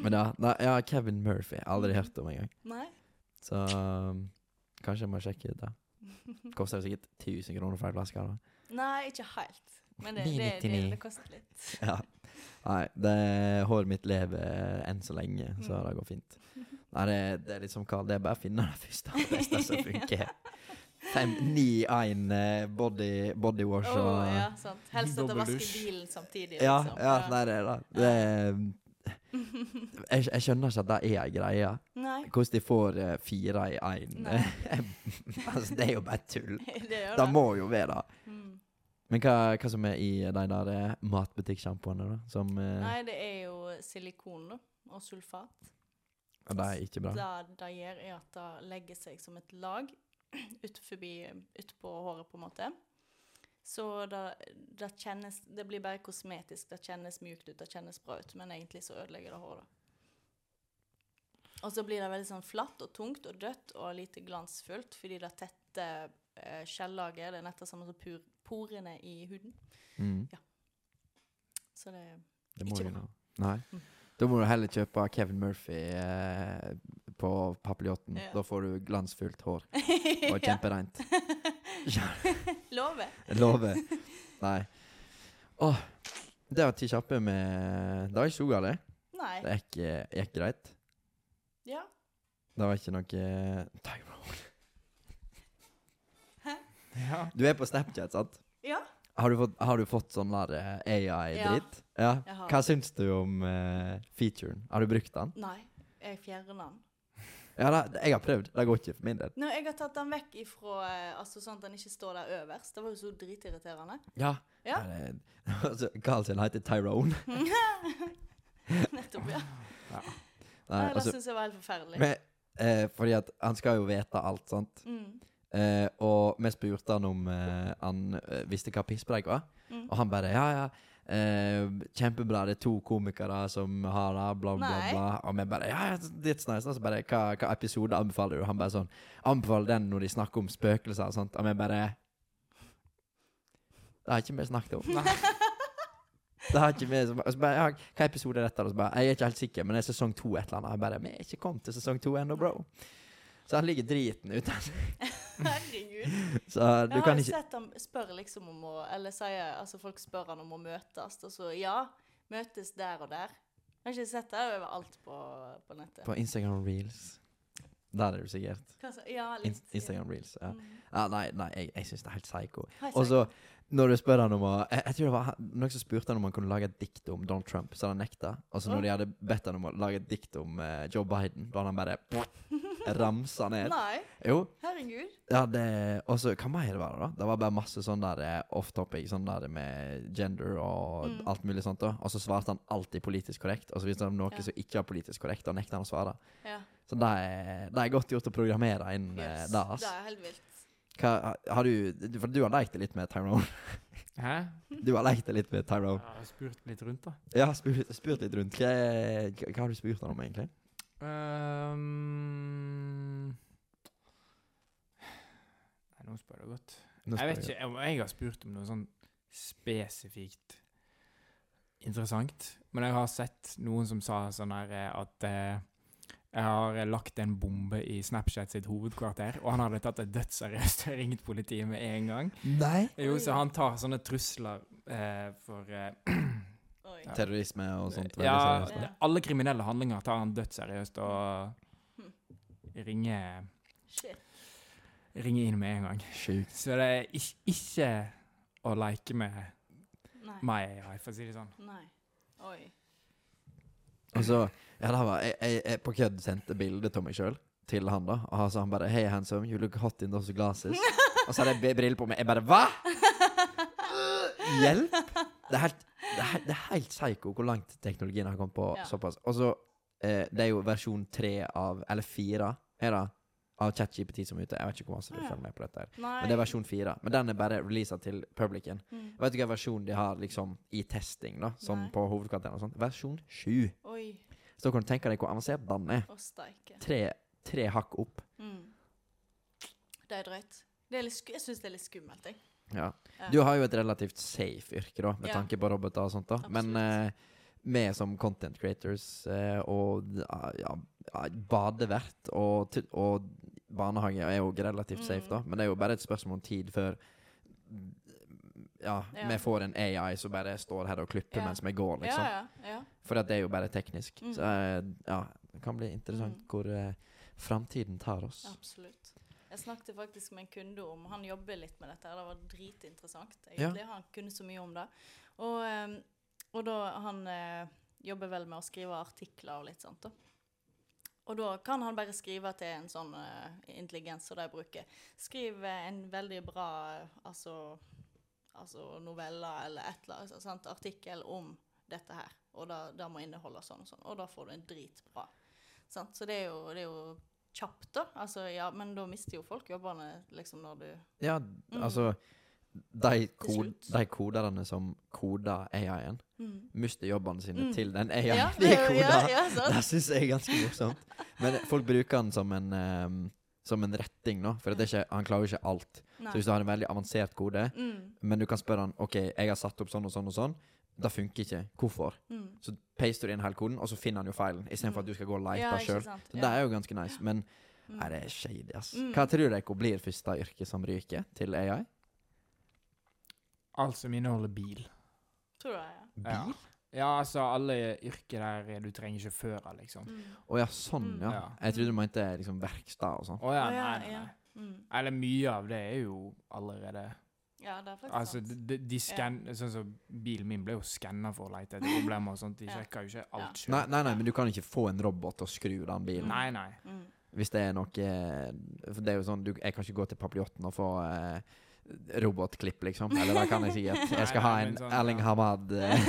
Men ja, nei, ja Kevin Murphy. Aldri hørt om engang. Nei? Så um, kanskje jeg må sjekke ut det. Koster jo sikkert 1000 kroner for ei flaske. da. Nei, ikke helt. Men det, det, det, 9,99. det koster litt. Ja. Nei, det håret mitt lever enn så lenge, så Mm. det går fint. Nei, det, det er liksom hva Det er bare å finne det første og beste som funker. 591 eh, body, body wash Åh, og Oh, ja, sant. Helst at du vasker Dobbeldusj. bilen samtidig. ja, liksom. ja, nei, det er det. det er, jeg, jeg skjønner ikke at det er ei greie. Nei. Hvordan de får eh, fire i én. Nei. altså, det er jo bare tull. Det gjør Det det. må jo være det. Mm. Men hva, hva som er i de der eh, matbutikksjampoene, da? Som eh, Nei, det er jo silikon da, og sulfat. ja, De er ikke bra. Det det gjør, er at det legger seg som et lag ut forbi, ut på håret, på en måte. Så det, det kjennes Det blir bare kosmetisk. Det kjennes mjukt ut, det kjennes bra ut, men egentlig så ødelegger det håret. Og så blir det veldig sånn flatt og tungt og dødt og lite glansfullt fordi det tetter eh, skjellaget. Det er nettopp samme som pur, porene i huden. Mm. Så det er Det må Ikke du Mm. bra. nå. Nei. Da må du heller kjøpe Kevin Murphy eh, på papiljotten. Ja. Da får du glansfullt hår og Ja. kjempereint. Lover. Jeg lover. Nei. Åh, det var ti kjappe med Det var ikke så galt. Nei. Det gikk, eh, gikk greit. Ja. Det var ikke noe eh, Timer. Ja. Du er på Snapchat, sant? Ja. Har du fått, har du fått sånn der AI-dritt? Ja. Jeg har. Hva syns du om eh, featuren? Har du brukt den? Nei. Jeg fjerner den. Ja, det, jeg har prøvd. Det går ikke for min del. Nå, jeg har tatt den vekk ifra eh, altså sånn at den ikke står der øverst. Det var jo så dritirriterende. Ja. Ja. det- altså, Karl sin heter Tyrone. Nettopp, ja. Nei, Nei, det altså, syns jeg var helt forferdelig. men, eh, fordi at han skal jo vite alt, sant? Mm. Eh, og vi spurte han om eh, han eh, visste hva pisspreik var. Mm. Og han bare ja, ja. Eh, kjempebra, det er to komikere som har det, bla, bla, Nei. bla. Og vi bare ja, ja, that's nice. Og så bare hva, hva episode anbefaler du? Han bare sånn Anbefaler den når de snakker om spøkelser og sånt. Og vi bare Det har ikke vi snakket om. Det har ikke vi som- og så bare, ja, Hva episode er dette? Og så bare, jeg er ikke helt sikker, men det er sesong to et eller annet. Jeg bare, Vi er ikke kommet til sesong to ennå, bro. Så han ligger driten ut. Herregud. Så eh, Jeg du har kan jo ikke sett han spør liksom om å Eller sier Altså, folk spør han om å møtes, og så ja, møtes der og der. Jeg har ikke sett det overalt på, på nettet. På Instagram Reels. Der er du sikkert. Hva sa Ja, In litt. Instagram Reels. Ja. Ah, Mm. ja nei, nei, jeg, jeg syns det er helt psycho. Har jeg Og sagt- så, når du spør han om å jeg, jeg tror det var han- Noen som spurte han om han kunne lage et dikt om Donald Trump, så hadde han nekta. Og så når de hadde bedt han om å lage et dikt om eh, Joe Biden, da hadde han bare ramsa ned. Nei. Jo, Herregud. ja, det Og så hva mer var det, da? Det var bare masse sånn der eh, off topic, sånn der med gender og Mm. alt mulig sånt. da Og så svarte han alltid politisk korrekt. Og så hvis det var noe Ja. som ikke var politisk korrekt, da nekta han å svare. Ja. Så det er, det er godt gjort å programmere inn eh, Yes. det. ass. Det er helt vilt. Hva, har du, du- for du har lekt det litt med Tyrone. Hæ? Du har lekt det litt med Jeg Tyrone. har spurt litt rundt, da. Ja, spurt, spurt litt rundt. Hva, hva har du spurt han om, egentlig? Ehm, Nei, nå spør du godt. Nå Jeg vet spør ikke om jeg har spurt om noe sånn spesifikt interessant. Men jeg har sett noen som sa sånn her eh, at eh, jeg har lagt en bombe i Snapchat sitt hovedkvarter, og han hadde tatt det dødsseriøst og ringt politiet med en gang. Nei? Jo, så han tar sånne trusler eh, for eh, Oi. Ja. Terrorisme og sånt. veldig Ja, seriøst, da. det- alle kriminelle handlinger tar han dødsseriøst og Hmm. ringer, Shit. ringer inn med en gang. Sjukt. Så det er ikk- ikke å leke med Nei. meg, ja, for å si det sånn. Nei. Oi. Og så, ja, da var jeg, jeg, jeg på kødd sendte bilde av meg sjøl til han, da. Og han sa han bare 'Hey, handsome, you look hot in those glasses'. Og så hadde jeg b- briller på meg. Jeg bare 'Hva?! Hjelp! Det er helt, det er, helt- det er helt psycho hvor langt teknologien har kommet på Ja. såpass. Og så eh, Det er jo versjon tre av Eller fire, er det? Av ChatGPT som er ute. Jeg vet ikke hvor masse du Ah, ja. følger med på dette. her Nei. Men det er versjon fire. Men den er bare releasa til publicen. Mm. Vet du hva versjon de har liksom i testing, da? Sånn Nei. på hovedkvarteren og sånn. Versjon sju. Oi. Så da kan du tenke deg hvor avansert den er. Å, steike. Tre, tre hakk opp. Mm. Det er drøyt. Det er litt sku jeg syns det er litt skummelt, jeg. Ja. Ja. Du har jo et relativt safe yrke, da, med Ja. tanke på roboter og sånt. da Men eh, Absolutt. vi som content creators eh, og ja, ja, ja, badevert og, tu- og barnehage er jo relativt safe, Mm. da. Men det er jo bare et spørsmål om tid før ja, Ja. vi får en AI som bare står her og klipper Ja. mens vi går, liksom. Ja, ja, ja. For at det er jo bare teknisk. Mm. Så eh, ja, det kan bli interessant Mm. hvor eh, framtiden tar oss. Absolutt. Jeg snakket faktisk med en kunde om Han jobber litt med dette. her, Det var dritinteressant. Ja. egentlig. Han kunne så mye om det. Og, eh, og da Han eh, jobber vel med å skrive artikler og litt sånt. da. Og da kan han bare skrive til en sånn eh, intelligens som de bruker. Skriv eh, en veldig bra eh, altså, altså novella eller et eller annet sant? artikkel om dette her. Og da, da må inneholde sånn og sånn. Og da får du en dritbra. Sant? Så det er jo, det er jo kjapt, da. Altså, ja, men da mister jo folk jobbene, liksom, når du Ja, altså de, ko Mm. slutt. de koderne som koder AI-en, mm. mister jobbene sine Mm. til den AI-en de det er jo- koder. ja, ja, sant? Det syns jeg er ganske morsomt. Men folk bruker den som en, ehm, som en retting, nå, for at det er ikke, han klarer jo ikke alt. Så Nei. hvis du har en veldig avansert kode, Mm, men du kan spørre han OK, jeg har satt opp sånn og sånn og sånn, det funker ikke. Hvorfor? mm. Så paster du inn hele koden, og så finner han jo feilen, istedenfor at du skal gå og lete Ja, ja, ikke sjøl. sant? Så Ja. det er jo ganske nice. Men Mm. nei, det er shady, ass. Mm. Hva tror dere blir første yrke som ryker til AI? Alt som inneholder bil. Tror du det, ja. Bil? Ja. ja, altså alle yrker der du trenger sjåfører, liksom. Mm. Å ja, sånn, Mm. ja. Ja. Jeg trodde du mente liksom verksted og sånn. Å ja, Å ja, nei, nei, ja. nei. Mm. Eller mye av det er jo allerede ja, det er faktisk Altså, sant. de, de scan, sånn som Bilen min ble jo skanna for å lete etter problemer og sånt. De Ja. sjekker jo ikke alt Nei, sjøl. nei, nei, men du kan ikke få en robot til å skru den bilen. Nei, nei. Mm. Hvis det er noe eh, For det er jo sånn du, Jeg kan ikke gå til papiljotten og få eh, robotklipp, liksom. Eller hva kan jeg si? At jeg skal ha Nei, nei, en men sånn, Erling ja. Hamad eh,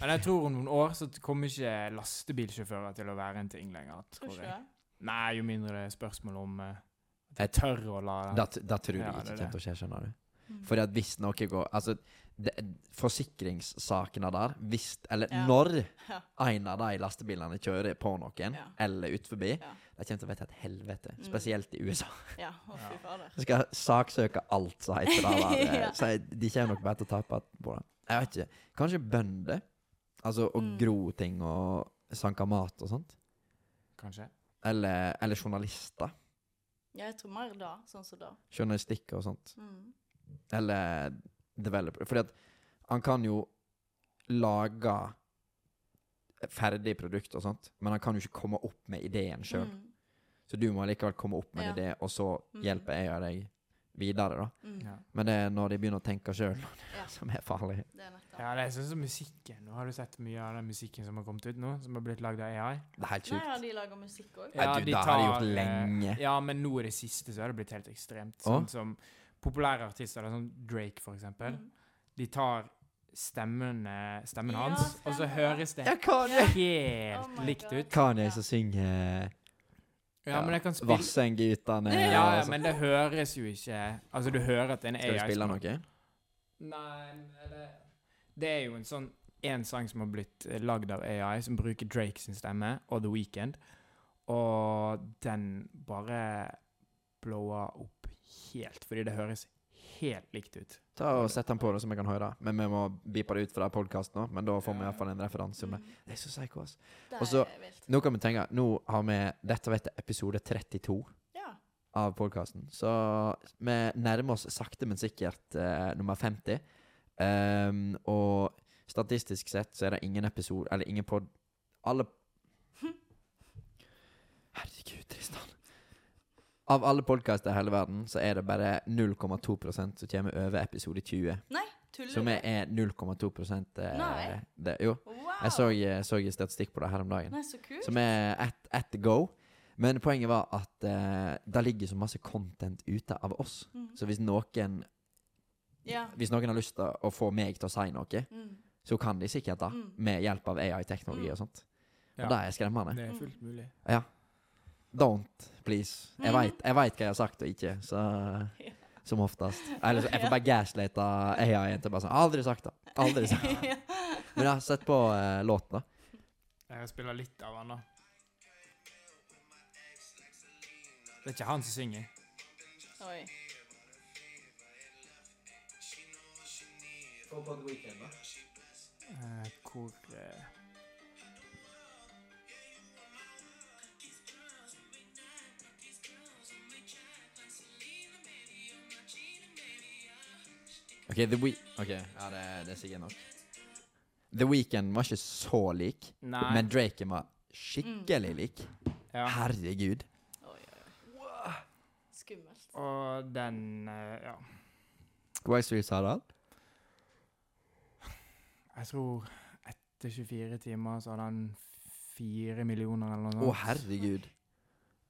Men jeg tror om noen år så kommer ikke lastebilsjåfører til å være en ting lenger. Tror Tror ikke jeg. det. Nei, jo mindre det er spørsmål om eh, at Jeg jeg tør å la Da da tror jeg Ja, ikke det er kommer det. til å skje, skjønner du. Mm. For at hvis noe går Altså, det, forsikringssakene der Hvis Eller Ja. når Ja. en av de lastebilene kjører på noen, Ja. eller utforbi, Ja. de kommer til å vite et helvete. Mm. Spesielt i USA. ja. Å, fy fader. Jeg skal saksøke alt som heter det der. eh, Ja. Så jeg, de kommer nok bare til å tape på det. Jeg vet ikke. Kanskje bønder? Altså å Mm. gro ting og sanke mat og sånt? Kanskje. Eller, eller journalister. Ja, jeg tror mer da, sånn som da. Journalistikk og sånt. Mm. Eller developer. Fordi at han kan jo lage ferdig produkt og sånt, men han kan jo ikke komme opp med ideen sjøl. Mm. Så du må likevel komme opp med en Ja. idé, og så Mm. hjelper jeg deg videre, da. Mm. Ja. Men det er når de begynner å tenke sjøl, Ja. som er farlig. Det er nettopp. ja, det er sånn som musikken. Nå har du sett mye av den musikken som har kommet ut nå, som har blitt lagd av AI. Det er helt Nei, sjukt. ja, de lager musikk òg. Ja, du, det har de gjort eh, lenge. Ja, men nå i det siste så har det blitt helt ekstremt. Å? Sånn som populære artister, da, sånn Drake for eksempel, Mm. de tar stemmen, eh, stemmen Ja, hans, og så stemmen, ja. høres det Ja, Kanye! Oh helt my likt God. ut. Kanye Ja. som synger eh, Ja, men jeg kan spille Vassengutane ja, og ja, sånt. men det høres jo ikke Altså, du hører at det er en AI altså. Skal du spille som- noe? Nei, men det, det er jo en sånn En sang som har blitt eh, lagd av AI, som bruker Drake sin stemme, og The Weeknd. Og den bare blower opp helt, fordi det høres helt likt ut. Ta og Sett den på, da, så vi kan høre. Men vi må beepe det ut fra podkasten nå. Men da får vi i Ja. hvert fall en referanse om det. Mm. Det er så psycho, ass. Det Og så- er vilt. Nå kan vi tenke Nå har vi Dette vet jeg, episode 32 Ja. av podkasten. Så vi nærmer oss sakte, men sikkert eh, nummer 50. Ehm, og statistisk sett så er det ingen episode Eller ingen pod... Alle Herregud, Tristan. Av alle podkaster i hele verden så er det bare 0,2 som kommer over episode 20. Tuller Som du? er er 0,2 eh, Nei. det, Jo. Wow. Jeg så, eh, så statistikk på det her om dagen. Nei, så kult. Som er at, at the go. Men poenget var at eh, det ligger så masse content ute av oss. Mm. Så hvis noen, Ja. hvis noen har lyst til å få meg til å si noe, Mm. så kan de sikkert det. Mm. Med hjelp av AI-teknologi Mm. og sånt. Og Ja. det er skremmende. Det er fullt mulig. Don't, please. Jeg Mhm. veit hva jeg har sagt og ikke, så Ja. Som oftest. Eller så jeg får bare gaslighte AI-en til bare sånn Aldri sagt det. Aldri sagt det. Ja. Men ja, sett på eh, låten, da. Jeg spiller litt av han, da. Det er ikke han som synger. Oi. Kom på The Weeknd, da. Eh, hvor eh, Ok, The Week... Ok, ja, det, det er sikkert nok. The Weeknd var ikke så lik, Nei. Mm. men Draken var skikkelig lik. ja. Herregud. Oi, oi, oi. Skummelt. Og den eh, Ja. White Street Harald? Jeg tror etter 24 timer så hadde han fire millioner eller Å, noe sånt. herregud.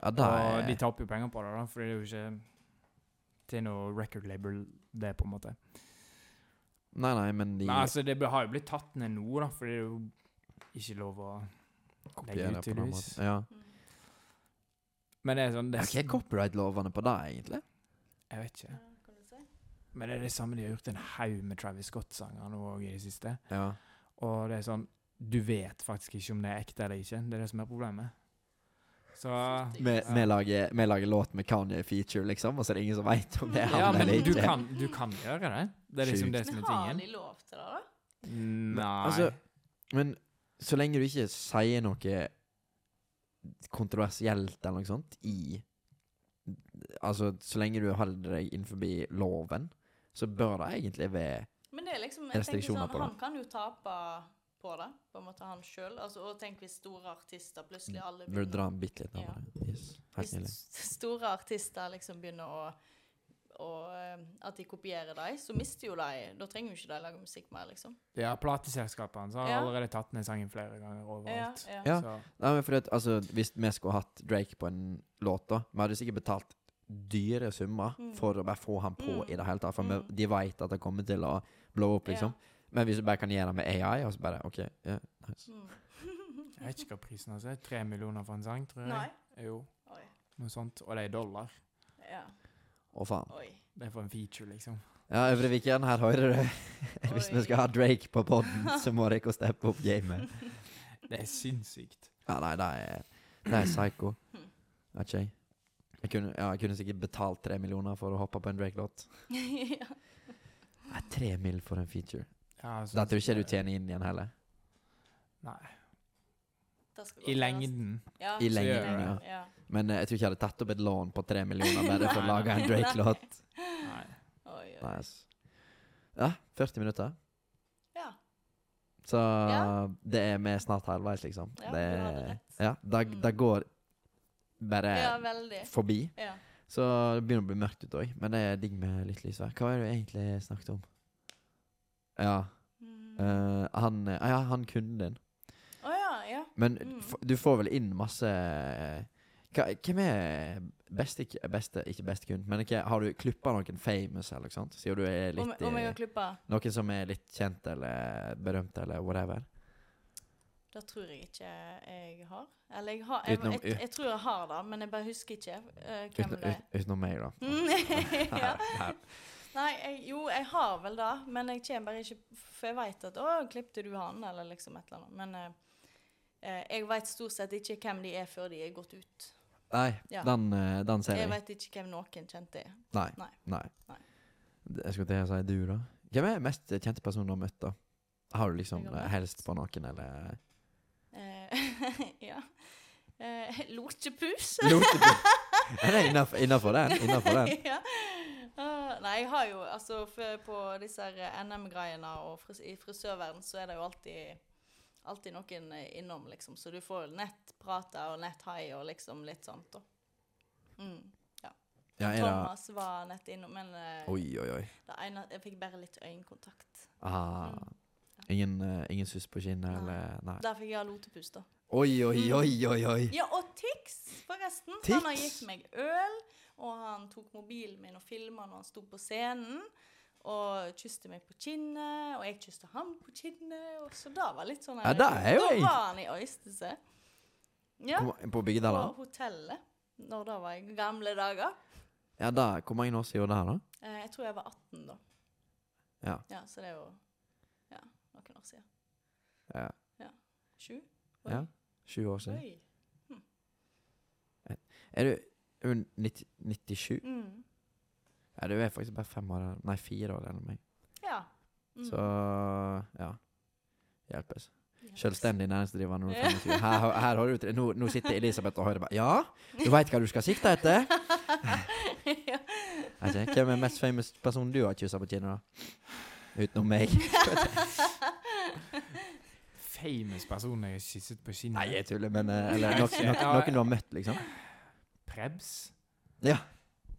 Ja, da Og er de taper jo penger på det, da, fordi det er jo ikke til noe record label, det, på en måte. Nei, nei, men de Men altså, det be- har jo blitt tatt ned nå, da, fordi det er jo ikke lov å kopierer legge ut, på den tydeligvis. måten. Ja. Mm. Men det er sånn det Ja, er, Hva er copyright-lovene på det, egentlig? Jeg vet ikke. Ja, kan du si? Men det er det samme de har gjort en haug med Travis Scott-sanger nå òg i det siste. Ja. Og det er sånn Du vet faktisk ikke om det er ekte eller ikke. Det er det som er problemet. Så Vi vi lager, vi lager låt med Kanye feature, liksom, og så er det ingen som veit om det er han Ja, men eller du ikke. kan, du kan gjøre det. Det er liksom Sjukt. det som Men er har tingen. de lov til det, da? Nei. altså, Men så lenge du ikke sier noe kontroversielt eller noe sånt i Altså, så lenge du holder deg innenfor loven, så bør det egentlig være Men det er liksom, jeg tenker Restriksjoner sånn, på det. han kan jo tape på det, på en måte han sjøl. Altså, og tenk hvis store artister plutselig alle Burde begynner dra den bitte litt nærmere. Yes. Helt Hvis nydelig. s- store artister liksom begynner å og at de kopierer dem, så mister jo de Da trenger jo ikke de lage musikk mer, liksom. ja, plateselskapene så har Ja. allerede tatt ned sangen flere ganger overalt. Ja, ja. Ja. Så, Nei, men fordi at, altså, Hvis vi skulle hatt Drake på en låt, da Vi hadde sikkert betalt dyre summer Mm. for å bare få han på Mm. i det hele tatt. For vi- Mm. de veit at det kommer til å blow opp, liksom. Men hvis du bare kan gjøre det med AI, og så bare OK, ja, nice. Mm. jeg vet ikke hva prisen hans er. Tre millioner for en sang, tror jeg. Nei. Jo, Oi. noe sånt. Og det er i dollar. Ja. Å, faen. Oi. Det er for en feature, liksom. Ja, Øvre Viken, her hører du. Hvis vi Oi. skal ha Drake på podden, så må dere steppe opp gamet. Det er sinnssykt. Ja, nei, det er, det er psycho. Vet ikke jeg. Jeg kunne, ja, jeg kunne sikkert betalt tre millioner for å hoppe på en Drake-låt. ja. Nei, Tre mill. for en feature. Ja, sånn Da tror jeg som ikke du det- tjener inn igjen heller. Nei. Det skal gå I til lengden. neste- Ja, I så lengden, gjør det. ja. Men eh, jeg tror ikke jeg hadde tatt opp et lån på tre millioner bare for å Nei, lage en nei. Drake-låt. Nei. Oi, oi. Nice. Ja, 40 minutter. Ja. Så Ja. det er vi er snart halvveis, liksom. Ja, det, du hadde rett. ja, da, Mm. da går bare ja, veldig. forbi. Ja. Så det begynner å bli mørkt ute òg, men det er digg med litt lys her. Hva er det vi egentlig snakket om? Ja, Mm. Å eh, han eh, Ja, han kunden din. ja, ja. Men Mm. f du får vel inn masse eh, hva, Hvem er beste, ikke- beste Ikke beste kund, men ikke, har du klippa noen famous eller noe sånt? Siden du er Om, litt eh, om jeg i- kan klippe? Noen som er litt kjent eller berømt eller whatever? Det tror jeg ikke jeg har. Eller jeg har jeg, Utenom jeg, u- jeg, tror jeg har det, men jeg bare husker ikke eh, hvem Uten- det er. Mm. ut- Utenom meg, da. ja. Nei, Nei, jeg, jo, jeg har vel det, men jeg kommer bare ikke For jeg veit at 'Å, klippte du han?' eller liksom et eller annet. Men eh, eh, jeg veit stort sett ikke hvem de er før de er gått ut. Nei, Ja. den, eh, den ser Jeg jeg. veit ikke hvem noen kjente er. Nei. Nei. Nei. Nei. Det- Jeg skulle til å si du, da. Hvem er den mest kjente personen du har møtt, da? Har du liksom Jeg har eh, møtt. helst på noen, eller Eh, ja. Eh, Lortepus. Lortepus. Er det innafor den? Innenfor den? ja. Ah, nei, jeg har jo altså f- På disse her, eh, NM-greiene og fris i frisørverden så er det jo alltid Alltid noen eh, innom, liksom. Så du får nettprater og netthai og liksom litt sånt. da. Mm. Ja, er det Thomas var nett innom, men eh, Oi, oi, oi. det ene, jeg fikk bare litt øyekontakt. Ah. Mm. Ingen, eh, ingen suss på kinnet, Nei. Mm. eller Nei. Der fikk jeg lotepus, da. Oi, oi, oi, oi, oi. Ja, og Tix, forresten. Tix? Han har gitt meg øl, og han tok mobilen min og filma når han sto på scenen. Og kysste meg på kinnet, og jeg kysste ham på kinnet. Og så da var litt sånn Ja, det er jo Da egentlig- var han i Øystese. Ja, Hvor- På på Byggedala? hotellet. Når da var jeg gamle dager. Ja, da, hvor mange år siden er det? Eh, jeg tror jeg var 18 da. Ja. ja så det er jo ja, noen år siden. da? Ja. Sju? ja. Sju år siden. Oi. Er du er du 90, 97? Mm. Ja, du er faktisk bare fem år, nei, fire år eldre enn meg. Ja. Mm. Så ja. Hjelpes. Ja. Selvstendig næringsdrivende. når du er Ja. 25. Her, her har du tre. Nå, nå sitter Elisabeth og hører bare Ja, du veit hva du skal sikte etter? ja. Jeg sier, Hvem er mest famous person du har kyssa på kinnet, da? Utenom meg? Famous person jeg har kysset på kinnet. Nei, jeg tuller, men eh, Eller noen, noen, noen du har møtt, liksom? Prebz. Ja.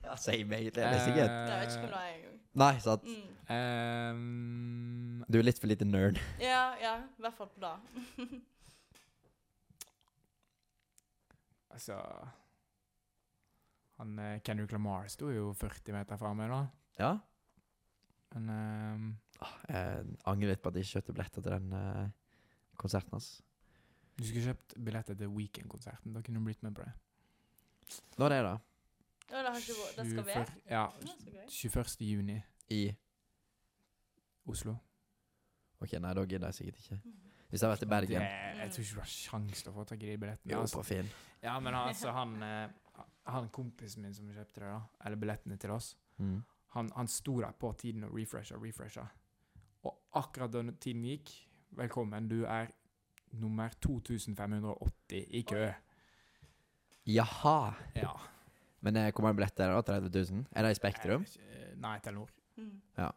ja si meg, det er nesten gøy. Det vet ikke om det er engang. Nei, sant. Mm. Eh, Ehm, Du er litt for lite nerd. Ja, ja. I hvert fall på det. altså han, eh, Kendrick Lamar sto jo 40 meter fra meg, da. Ja. Men ehm, Jeg angrer litt på at jeg ikke kjøpte billetter til den eh, konserten hans. du skulle kjøpt billetter til Weekend-konserten. Da kunne du blitt med på det. Når er det? Ja, det, har ikke vært, det skal være. 24 Ja. Ja, så gøy. 21. juni, I Oslo. Ok, nei, da gidder jeg sikkert ikke. Mm. Hvis jeg hadde vært i Bergen Det, jeg tror ikke du har sjans til å få tak i de billettene. Jo, altså. på Finn. Ja, men altså, han, eh, han kompisen min som kjøpte det, da, eller billettene til oss, Mm. han, han sto der på tiden og refresha og refresha. Og akkurat da tiden gikk Velkommen, du er nummer 2580 i kø. Jaha. Ja. Men eh, hvor mange billetter er det? da? 30 000? Er det i Spektrum? Jeg vet ikke, eh, Nei, Telenor. Mm. Nei,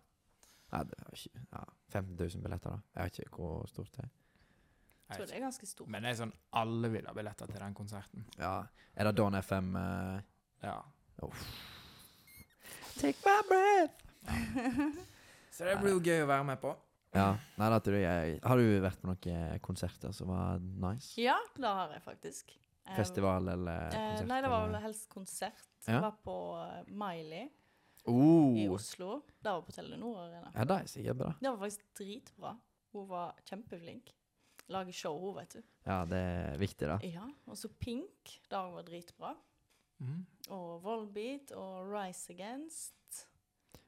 det er ikke, ja, 15 000 billetter, da. Jeg vet ikke hvor stort det er. Jeg tror det er ganske stort. Men det er sånn alle vil ha billetter til den konserten. Ja. Er det Don FM eh, Ja. Take my breath! Så det blir jo gøy å være med på. Ja. Nei, da tror jeg Har du vært på noen eh, konserter som var nice? Ja, det har jeg faktisk. Eh, Festival eller konsert? Eh, nei, det var vel eller- helst konsert. Ja. Jeg var på eh, Miley i Oh. Oslo. Det var på Telenor Arena. Ja, det er sikkert bra. Det var faktisk dritbra. Hun var kjempeflink. Lager show, hun, vet du. Ja, det er viktig, da. Ja, Og så Pink. Det var dritbra. Mhm. Og Volbeat og Rise Against.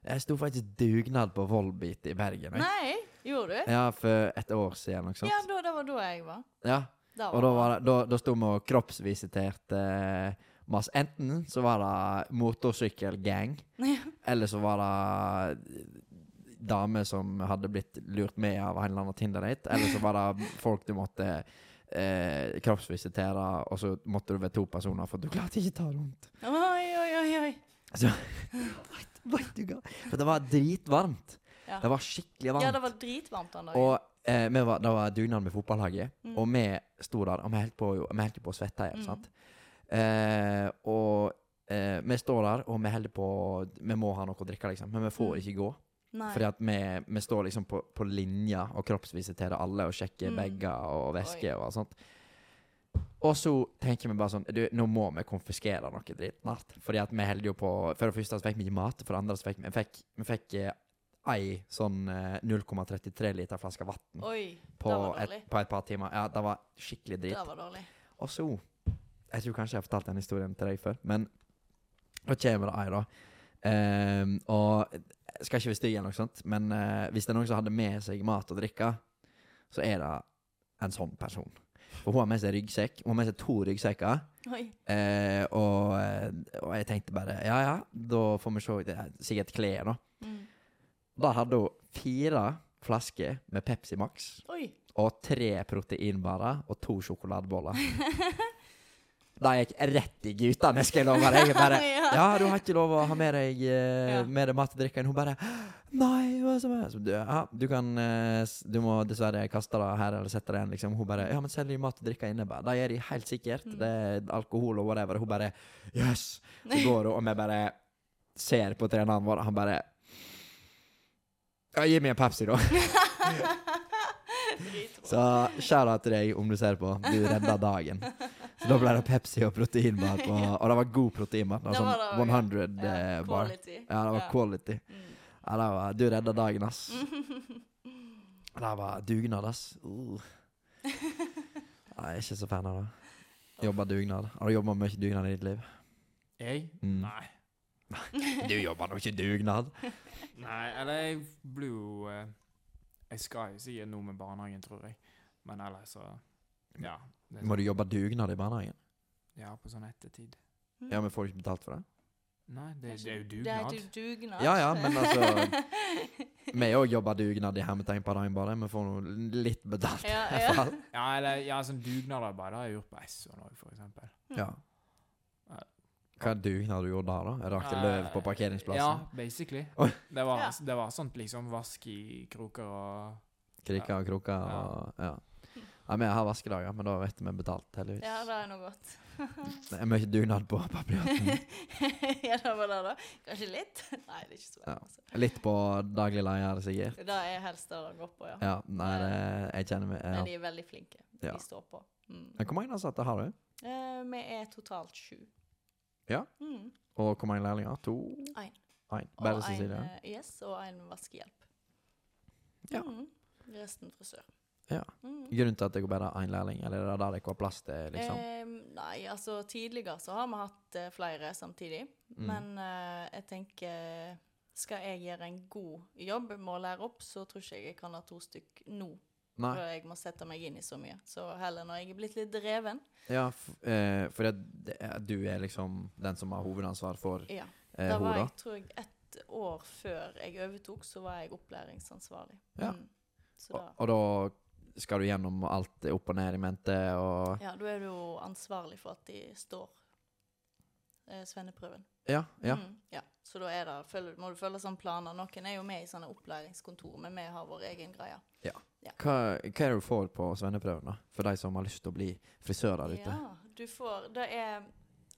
Jeg sto faktisk dugnad på Volbeat i Bergen. jeg. Nei, gjorde du? Ja, for et år siden, ikke Ja, sant? da, det var da jeg var. Ja. Da Og da, var det, da, da sto vi og kroppsvisiterte eh, masse. Enten så var det motorsykkelgang, eller så var det damer som hadde blitt lurt med av en eller annen Tinder-date, eller så var det folk du måtte eh, kroppsvisitere, og så måtte du være to personer, for du klarte ikke ta rundt. Oi, oi, oi. oi. Vet du hva? For det var dritvarmt. Ja. Det var skikkelig varmt. Ja, det var dritvarmt den dagen. Og eh, vi var, det var dugnad med fotballaget, Mm. og vi sto der, og vi holdt på, jo- vi holdt jo på å svette igjen. Mm. sant? Eh, og eh, vi står der, og vi holder på Vi må ha noe å drikke, liksom, men vi får Mm. ikke gå. Nei. Fordi at vi, vi står liksom på, på linja og kroppsvisiterer alle og sjekker Mm. bager og Oi. væsker og alt sånt. Og så tenker vi bare sånn du, Nå må vi konfiskere noe dritt snart. Fordi at vi holder jo på For det første så fikk vi ikke mat, for det andre så fikk vi vi fikk, vi fikk eh, ei sånn eh, 0,33 liter flaske vann Oi, på, det var et- dårlig. på et par timer. Ja, det var skikkelig drit. Det var dårlig. Og så Jeg tror kanskje jeg har fortalt den historien til deg før, men da kommer det ei, da. Ehm, og jeg skal ikke være stygg, eller noe sånt, men eh, hvis det er noen som hadde med seg mat og drikke, så er det en sånn person. For hun har med seg ryggsekk. Hun har med seg to ryggsekker. Oi. eh, og, eh, og jeg tenkte bare ja ja, da får vi se. Det er sikkert klær, da. Mm. Der hadde hun fire flasker med Pepsi Max Oi. og tre proteinbarer og to sjokoladeboller. Da gikk jeg rett i gutene, skal jeg love deg. Jeg bare Ja. Ja, du har ikke lov å ha med deg, eh, Ja. med deg mat og drikke. Hun bare Nei, hva som er Så du, ja, du kan eh, s- Du må dessverre kaste det her eller sette det igjen, liksom. Hun bare Ja, men selger de mat og drikke inne? Jeg Bare, det gjør de helt sikkert. Mm. Det er alkohol og whatever. Hun bare Yes! Så går hun, og vi bare ser på treneren vår, og han bare Ja, gi meg en Pepsi, da. Dritbra. Så skjæra til deg om du ser på. Du redda dagen. Så da ble det Pepsi og proteinmat, og, og det var god proteinmat. Det Det var var det, sånn 100 Ja, eh, bar. quality. Ja, det var Ja. quality. Mm. Ja, det var, du redda dagen, ass. Det var dugnad, ass. Uh. Nei, Jeg er ikke så fan av det. Jobba dugnad. Har du jobba mye dugnad i ditt liv? Jeg? Mm. Nei. Du jobber nå ikke dugnad. Nei, eller jeg blir jo eh, Jeg skal jo sikkert noe med barnehagen, tror jeg. Men ellers så Ja. det er Må sånn- du jobbe dugnad i barnehagen? Ja, på sånn ettertid. Ja, men får du ikke betalt for det? Nei, det, det er jo Det er dugnad. jo dugnad. Ja, ja, men altså- Vi òg jobber dugnad i hermetegn på dagen, bare. Vi får noe litt betalt. ja, i hvert ja. fall. Ja, eller ja, sånn dugnader bare. Det har jeg gjort på Esso nå, for eksempel. Mm. ja. Hva er dugnad du gjorde da, da? Rakte løv på Ja, parkeringsplassen? basically. Oi. Det var, Ja. det var sånt liksom vask i kroker og Krika og kroka og Ja. ja vi har vaskedager, men da vet vi betalt, heldigvis. Ja, det er noe godt. Det er mye dugnad på papirjaten. ja, det var det, da. Kanskje litt? Nei, det er ikke så Ja. veldig. altså. Litt på daglig leder, sikkert. Det er helst det det går på, ja. Ja, nei, det, jeg kjenner meg Men ja. de er veldig flinke. De Ja. står på. Mm. Men Hvor mange ansatte har du? Eh, vi er totalt sju. Ja. Mm. Og hvor mange lærlinger? To? Ein. Ein. Og Bare en, Cecilie? eh, yes, og en vaskehjelp. Ja. Mm. Resten frisør. Ja. Mm. Grunnen til at det går bare én lærling, eller er det der det ikke var plass til, liksom? Eh, nei, altså tidligere så har vi hatt eh, flere samtidig. Mm. Men eh, jeg tenker Skal jeg gjøre en god jobb med å lære opp, så tror ikke jeg jeg kan ha to stykk nå. Nei. For jeg må sette meg inn i så mye. Så heller når jeg er blitt litt dreven. Ja, f eh, for det, det, er- du er liksom den som har hovedansvar for Ja. eh, Da var hodet. jeg tror jeg ett år før jeg overtok, så var jeg opplæringsansvarlig. Ja. Mm. Så Og, da og da skal du gjennom alt opp og ned i mente og Ja, da er du jo ansvarlig for at de står eh, svenneprøven. Ja. ja. Mm, ja. Så da er det, føl- må du følge sånne planer. Noen er jo med i sånne opplæringskontor, men vi har vår egen greie. Hva, hva er det du får på svenneprøven, da? For de som har lyst til å bli frisør der ute? Ja, du får Det er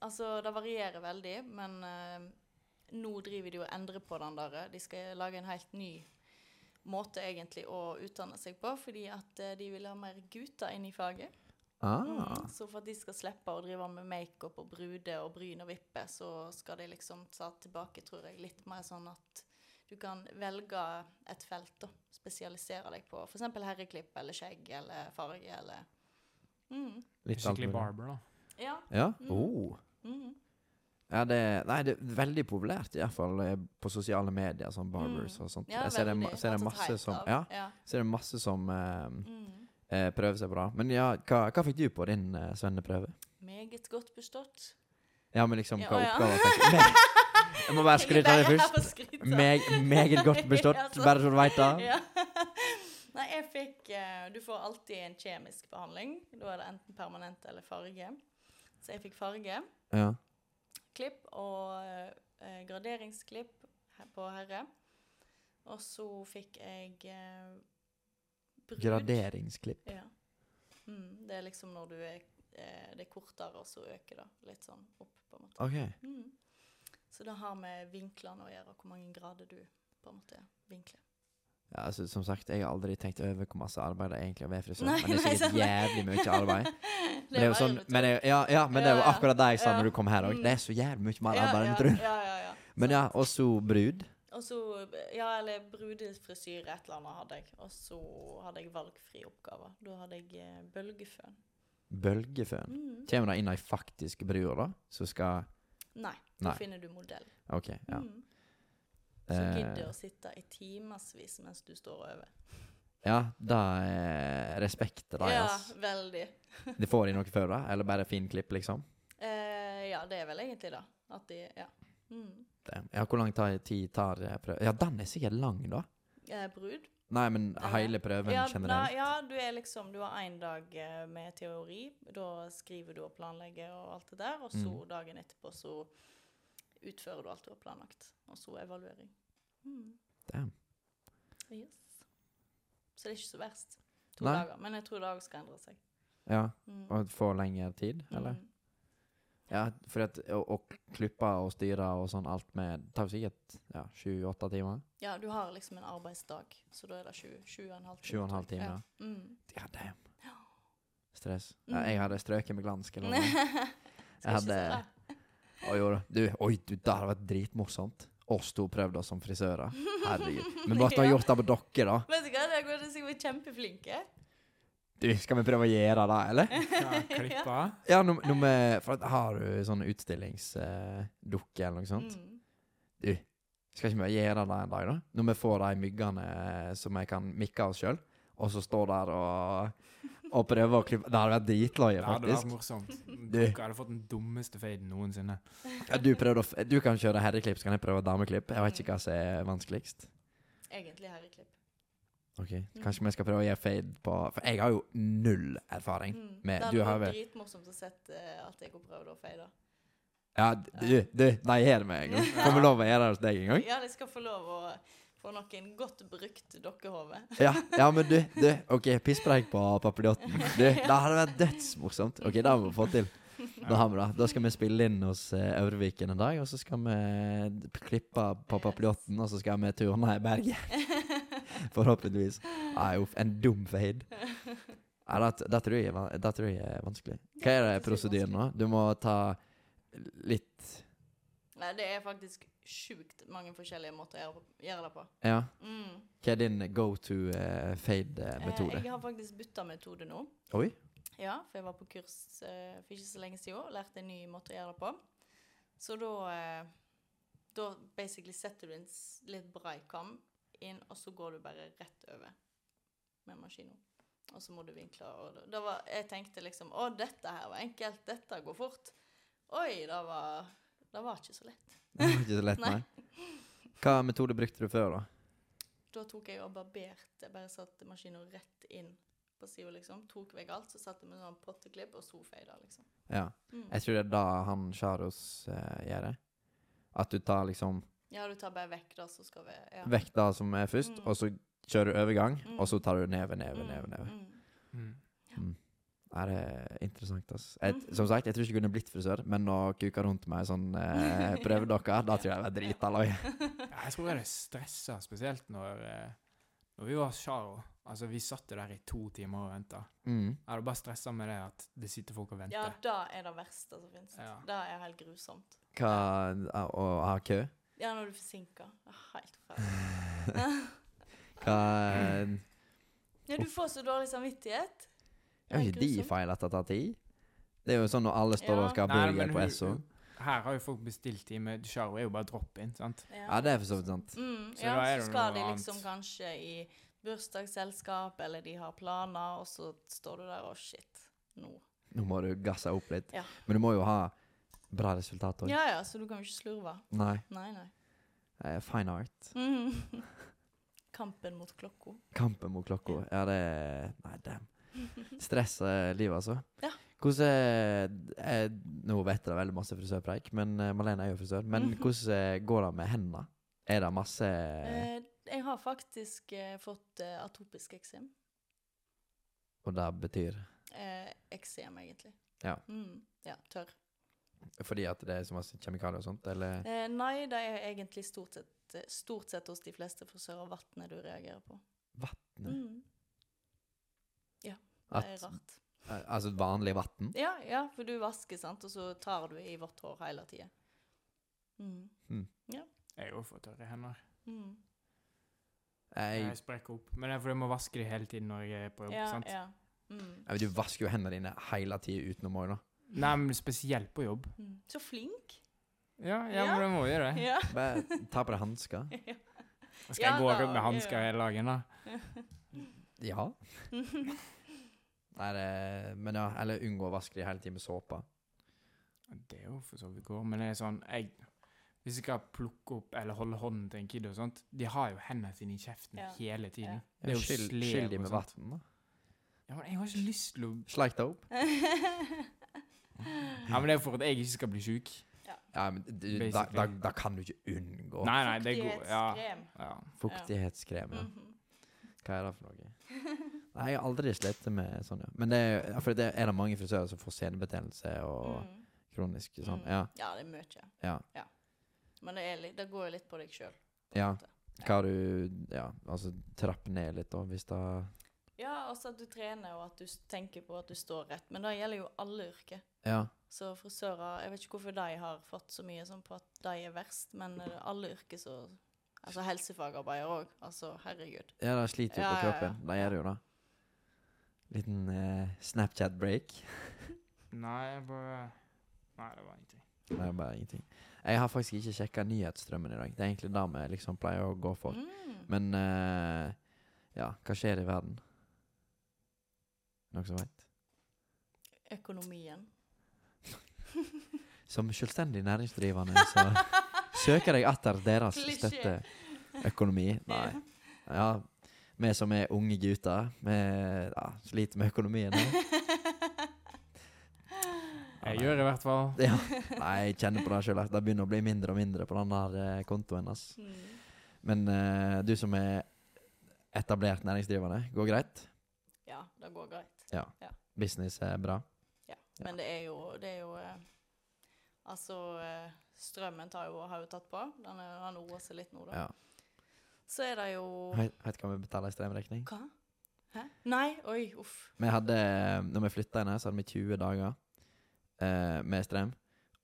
Altså, det varierer veldig, men eh, nå driver de og endrer på den der. De skal lage en helt ny måte egentlig å utdanne seg på, fordi at eh, de vil ha mer gutter inn i faget. Ah, Mm, så for at de skal slippe å drive med makeup og brude og bryn og vippe, så skal de liksom ta tilbake, tror jeg, litt mer sånn at du kan velge et felt, da. Spesialisere deg på f.eks. herreklipp eller skjegg eller farge eller mm. litt alt skikkelig mulig. barber, da. Ja. Ja? Mm. Oh. Mm. Ja, det, nei, det er veldig populært, iallfall eh, på sosiale medier, sånn barbers og sånt. Mm. Ja, jeg ser det, ma- veldig. ser det Har tatt masse heilt som, av. ja, ja. ser det masse som eh, Mm. eh, prøver seg på det. Men ja, hva, hva fikk du på din eh, svenneprøve? Meget godt bestått. Ja, men liksom, Ja, hva å, ja. oppgaver fikk du? Meg- Jeg må bare skryte av deg Jeg er først. bare skryter. Meg, meget godt bestått, Ja, så- bare så du veit det. Ja. Nei, jeg fikk eh, Du får alltid en kjemisk behandling. Da er det enten permanent eller farge. Så jeg fikk farge, Ja. klipp og eh, graderingsklipp her- på herre. Og så fikk jeg eh, brud. Graderingsklipp. Ja. Mm, det er liksom når du er eh, Det er kortere, og så øker det litt sånn opp, på en måte. OK. Mm. Så det har med vinklene å gjøre, hvor mange grader du på en måte vinkler. Ja, altså, som sagt, jeg har aldri tenkt over hvor masse arbeid det er egentlig er å være frisør. Nei, Men det er nei, sikkert sant. jævlig mye arbeid. Men det er jo var sånn, litt men det, ja, ja, men det er Ja, jo ja. akkurat det jeg sa Ja. når du kom her òg. Mm. Det er så jævlig mye mer Ja, arbeid enn ja, du tror. Ja, ja, ja. Men Sant. ja, og så brud. Og så Ja, eller brudefrisyre, et eller annet hadde jeg. Og så hadde jeg valgfri oppgave. Da hadde jeg eh, bølgeføn. Bølgeføn. Mm. Kommer det inn ei faktisk brud, da? Så skal Nei, da Nei. finner du modell. OK. Ja. Mm. Så Eh, gidder å sitte i timevis mens du står over. ja, det er respekt til deg, Ja, ass. veldig. De får inn noe før det? Eller bare fin klipp, liksom? Eh, ja, det er vel egentlig det. At de Ja. Mm. Damn. eh, Ja, hvor lang tar- tid tar eh, prøv... Ja, den er sikkert lang, da. Eh, brud. Nei, men Eller? hele prøven ja, generelt. nei, ja, du er liksom Du har én dag eh, med teori. Da skriver du og planlegger og alt det der. Og så Mm. dagen etterpå så utfører du alt du har planlagt. Og så evaluering. Mm. Damn. Yes. Så det er ikke så verst. To Nei. dager. Men jeg tror det òg skal endre seg. Ja, Mm. og få lengre tid, eller? Mm. Ja, for at å, å klippe og styre og sånn alt med Det tar jo sikkert ja, sju-åtte timer? Ja, du har liksom en arbeidsdag, så da er det sju, sju og en halv time. Sju og en halv tror jeg. time, Ja. Mm. Ja, damn. Stress. Ja, jeg hadde strøket med glansk eller noe. Skal Jeg ikke si hadde- det. Oi, jo da. Du, oi, du, det hadde vært dritmorsomt. Oss to prøvde oss som frisører. Herregud. Vi måtte ha Ja. gjort det på dere, da. Vet du hva, dere er sikkert kjempeflinke. Du, skal vi prøve å gjøre det, eller? Ja, klippa. Ja, nå, nå med, for at, Har du sånn utstillingsdukke eller noe sånt? Mm. Skal ikke vi gjøre det en dag, da? Når vi får de myggene eh, som jeg kan mikke oss sjøl, og så står der og, og prøver å klippe Det hadde vært dritløye, Det hadde vært faktisk. morsomt. Det, Du. Luka hadde fått den dummeste faden noensinne. Ja, du, prøvde å f du kan kjøre herreklipp, så kan jeg prøve dameklipp. Jeg vet ikke hva som er vanskeligst. Egentlig herreklipp. Ok, Mm. Kanskje vi skal prøve å gi fade på For jeg har jo null erfaring. Mm. Men det du hadde har vært vel- dritmorsomt å sett eh, at jeg har prøvd å feide. Ja, du, du de gjør meg en gang. Får vi lov å gjøre det hos deg en gang? Ja, de skal få lov å få noen godt brukt dokkehove. Ja, ja men du, du OK, pisspreik på papiljotten. Du, det hadde vært dødsmorsomt. OK, det har vi fått til. Da har vi det. Da skal vi spille inn hos eh, Øvreviken en dag, og så skal vi klippe på papiljotten, og så skal vi turne i berget. Forhåpentligvis. Nei, uff, en dum fade. Nei, det, det, tror jeg, er van- det tror jeg er vanskelig. Hva er det faktisk prosedyren nå? Du må ta litt Nei, det er faktisk sjukt mange forskjellige måter å gjøre, gjøre det på. Ja. Mm. Hva er din go to Eh, fade-metode? Jeg har faktisk bytta metode nå. Oi. Ja, for jeg var på kurs eh, for ikke så lenge siden og lærte en ny måte å gjøre det på. Så da eh, Da basically setter du en s- litt braikam inn, og så går du bare rett over med maskina. Og så må du vinkle. Og da- da var, jeg tenkte liksom Å, dette her var enkelt. Dette går fort. Oi, det var, det var ikke så lett. Det var ikke så lett, Nei. nei. Hva metode brukte du før, da? Da tok jeg og barberte. Bare satte maskina rett inn på sida, liksom. Tok vekk alt, så satte jeg med sånn potteklipp, og så feida, liksom. Ja. Mm. Jeg tror det er da han Sharos eh, gjør det. At du tar liksom Ja, du tar bare vekk det, så skal vi ja. vekk det som er først, Mm. og så kjører du overgang, Mm. og så tar du neve, neve, neve. neve. Mm, mm. Mm. Er det interessant, ass. Jeg, som sagt, jeg tror ikke jeg kunne blitt frisør, men å kuke rundt med ei sånn eh, prøvedokke, da tror jeg det er dritaløy. Ja, Jeg tror jeg hadde stressa, spesielt når, eh, når vi var Charo. Altså, vi satt jo der i to timer og venta. Mm. Jeg hadde bare stressa med det at det sitter folk og Ja, venter. det er det verste som finnes. Ja. Det er helt grusomt. Hva Å ha kø? Ja, når du er forsinka. Det er Helt forferdelig. Hva Ja, du får så dårlig samvittighet. Er jo ikke de feil at det tar tid? Det er jo sånn når alle står og skal ha Nei, men burger på hun- Esso. Her har jo folk bestilt time. Charo er jo bare drop-in, sant. Ja, det er for så vidt sant. Mm, Så ja, da er så det skal noe de annet. liksom kanskje i bursdagsselskap, eller de har planer, og så står du der og shit. Nå. Nå må du gasse opp litt. Ja. Men du må jo ha bra resultat òg. Ja ja, så du kan jo ikke slurve. Nei. Nei, nei. eh, Fine art. Mm. Kampen mot klokka. Kampen mot klokka. Ja, det Nei, damn. Stress er livet, altså. Ja. Hvordan er- er Nå vet jeg det er veldig masse frisørpreik, men eh, Malene er jo frisør. Men Mhm. hvordan eh, går det med hendene? Er det masse Eh, jeg har faktisk eh, fått eh, atopisk eksem. Og det betyr Eh, eksem, egentlig. Ja. Mm, ja, tørr. fordi at det er så masse kjemikalier og sånt, eller? Eh, nei, det er egentlig stort sett, eh, stort sett hos de fleste frisører vannet du reagerer på. Vattnet? Mm. Ja, det At- er rart. Eh, Altså vanlig vann? Ja, ja, for du vasker, sant, og så tar du i vått hår hele tida. Mm. Jeg har jo fått tørre hender. Mm. Jeg sprekker opp. Men det er fordi jeg må vaske de hele tiden når jeg er på jobb. Ja, sant? ja. Mm. Du vasker jo hendene dine hele tida utenom òg, da. Nei, men spesielt på jobb. Mm. Så flink! Ja, ja, Ja. men du må jo det. Ja. Bare ta på deg hansker. Skal Ja, jeg gå da, rundt ja. med hansker hele dagen, da? Ja. Nei, det, men ja, eller unngå å vaske de hele tiden med såpe. Det er jo for så vidt går, men det er sånn jeg, Hvis jeg skal plukke opp eller holde hånden til en kid og sånt De har jo hendene sine i kjeften Ja. hele tiden. Ja. Det er jo Skyll- slev Skyll de og med sånt. vann, da. Ja, men jeg har ikke lyst til å Sleik det opp. Ja, men Det er for at jeg ikke skal bli sjuk. Ja, men du, da, da, Basically. da kan du ikke unngå Nei, nei, det går ja, Fuktighetskrem. ja. fuktighetskrem. Ja. Mhm. Hva er det for noe? Nei, jeg har aldri slitt med sånn, ja. Men det er, ja, for det er det mange frisører som får senebetennelse og Mm. kronisk sånn. Mm. Ja. ja, det er mye. Ja. Men det, er litt, det går jo litt på deg sjøl. ja. Hva har du Ja, altså trapp ned litt, da, hvis det Ja, også at du trener, og at du s- tenker på at du står rett. Men det gjelder jo alle yrker. Ja. Så frisører Jeg vet ikke hvorfor de har fått så mye sånn på at de er verst, men eh, alle yrker så Altså helsefagarbeidere òg. Altså, herregud. Ja, det sliter jo Ja, på ja, ja. kroppen. Det gjør det jo det. Liten eh, Snapchat-break. Nei, jeg bare Nei, det var ingenting. Det er bare ingenting. Jeg har faktisk ikke sjekka nyhetsstrømmen i dag. Det er egentlig det vi liksom pleier å gå for. Mm. Men eh, ja, hva skjer i verden? Noen som veit? Økonomien. Som selvstendig næringsdrivende så søker jeg etter deres Klisjé. støtte. Økonomi? Nei. Ja, vi som er unge gutter, vi ja, sliter med økonomien. da. Jeg gjør i hvert fall. Ja. Nei, jeg kjenner på det sjøl. Det begynner å bli mindre og mindre på den der eh, kontoen. ass. Mm. Men eh, du som er etablert næringsdrivende, går greit? Ja, det går greit. Business er bra? Men det er jo, det er jo eh, Altså, eh, strømmen tar jo, har jo tatt på. Den, er- den roer seg litt nå, da. Ja. Så er det jo Vet vet hva vi betaler i strømregning? Hva? Hæ? Nei, oi, uff. Vi hadde, eh, når vi flytta inn her, så hadde vi 20 dager eh, med strøm.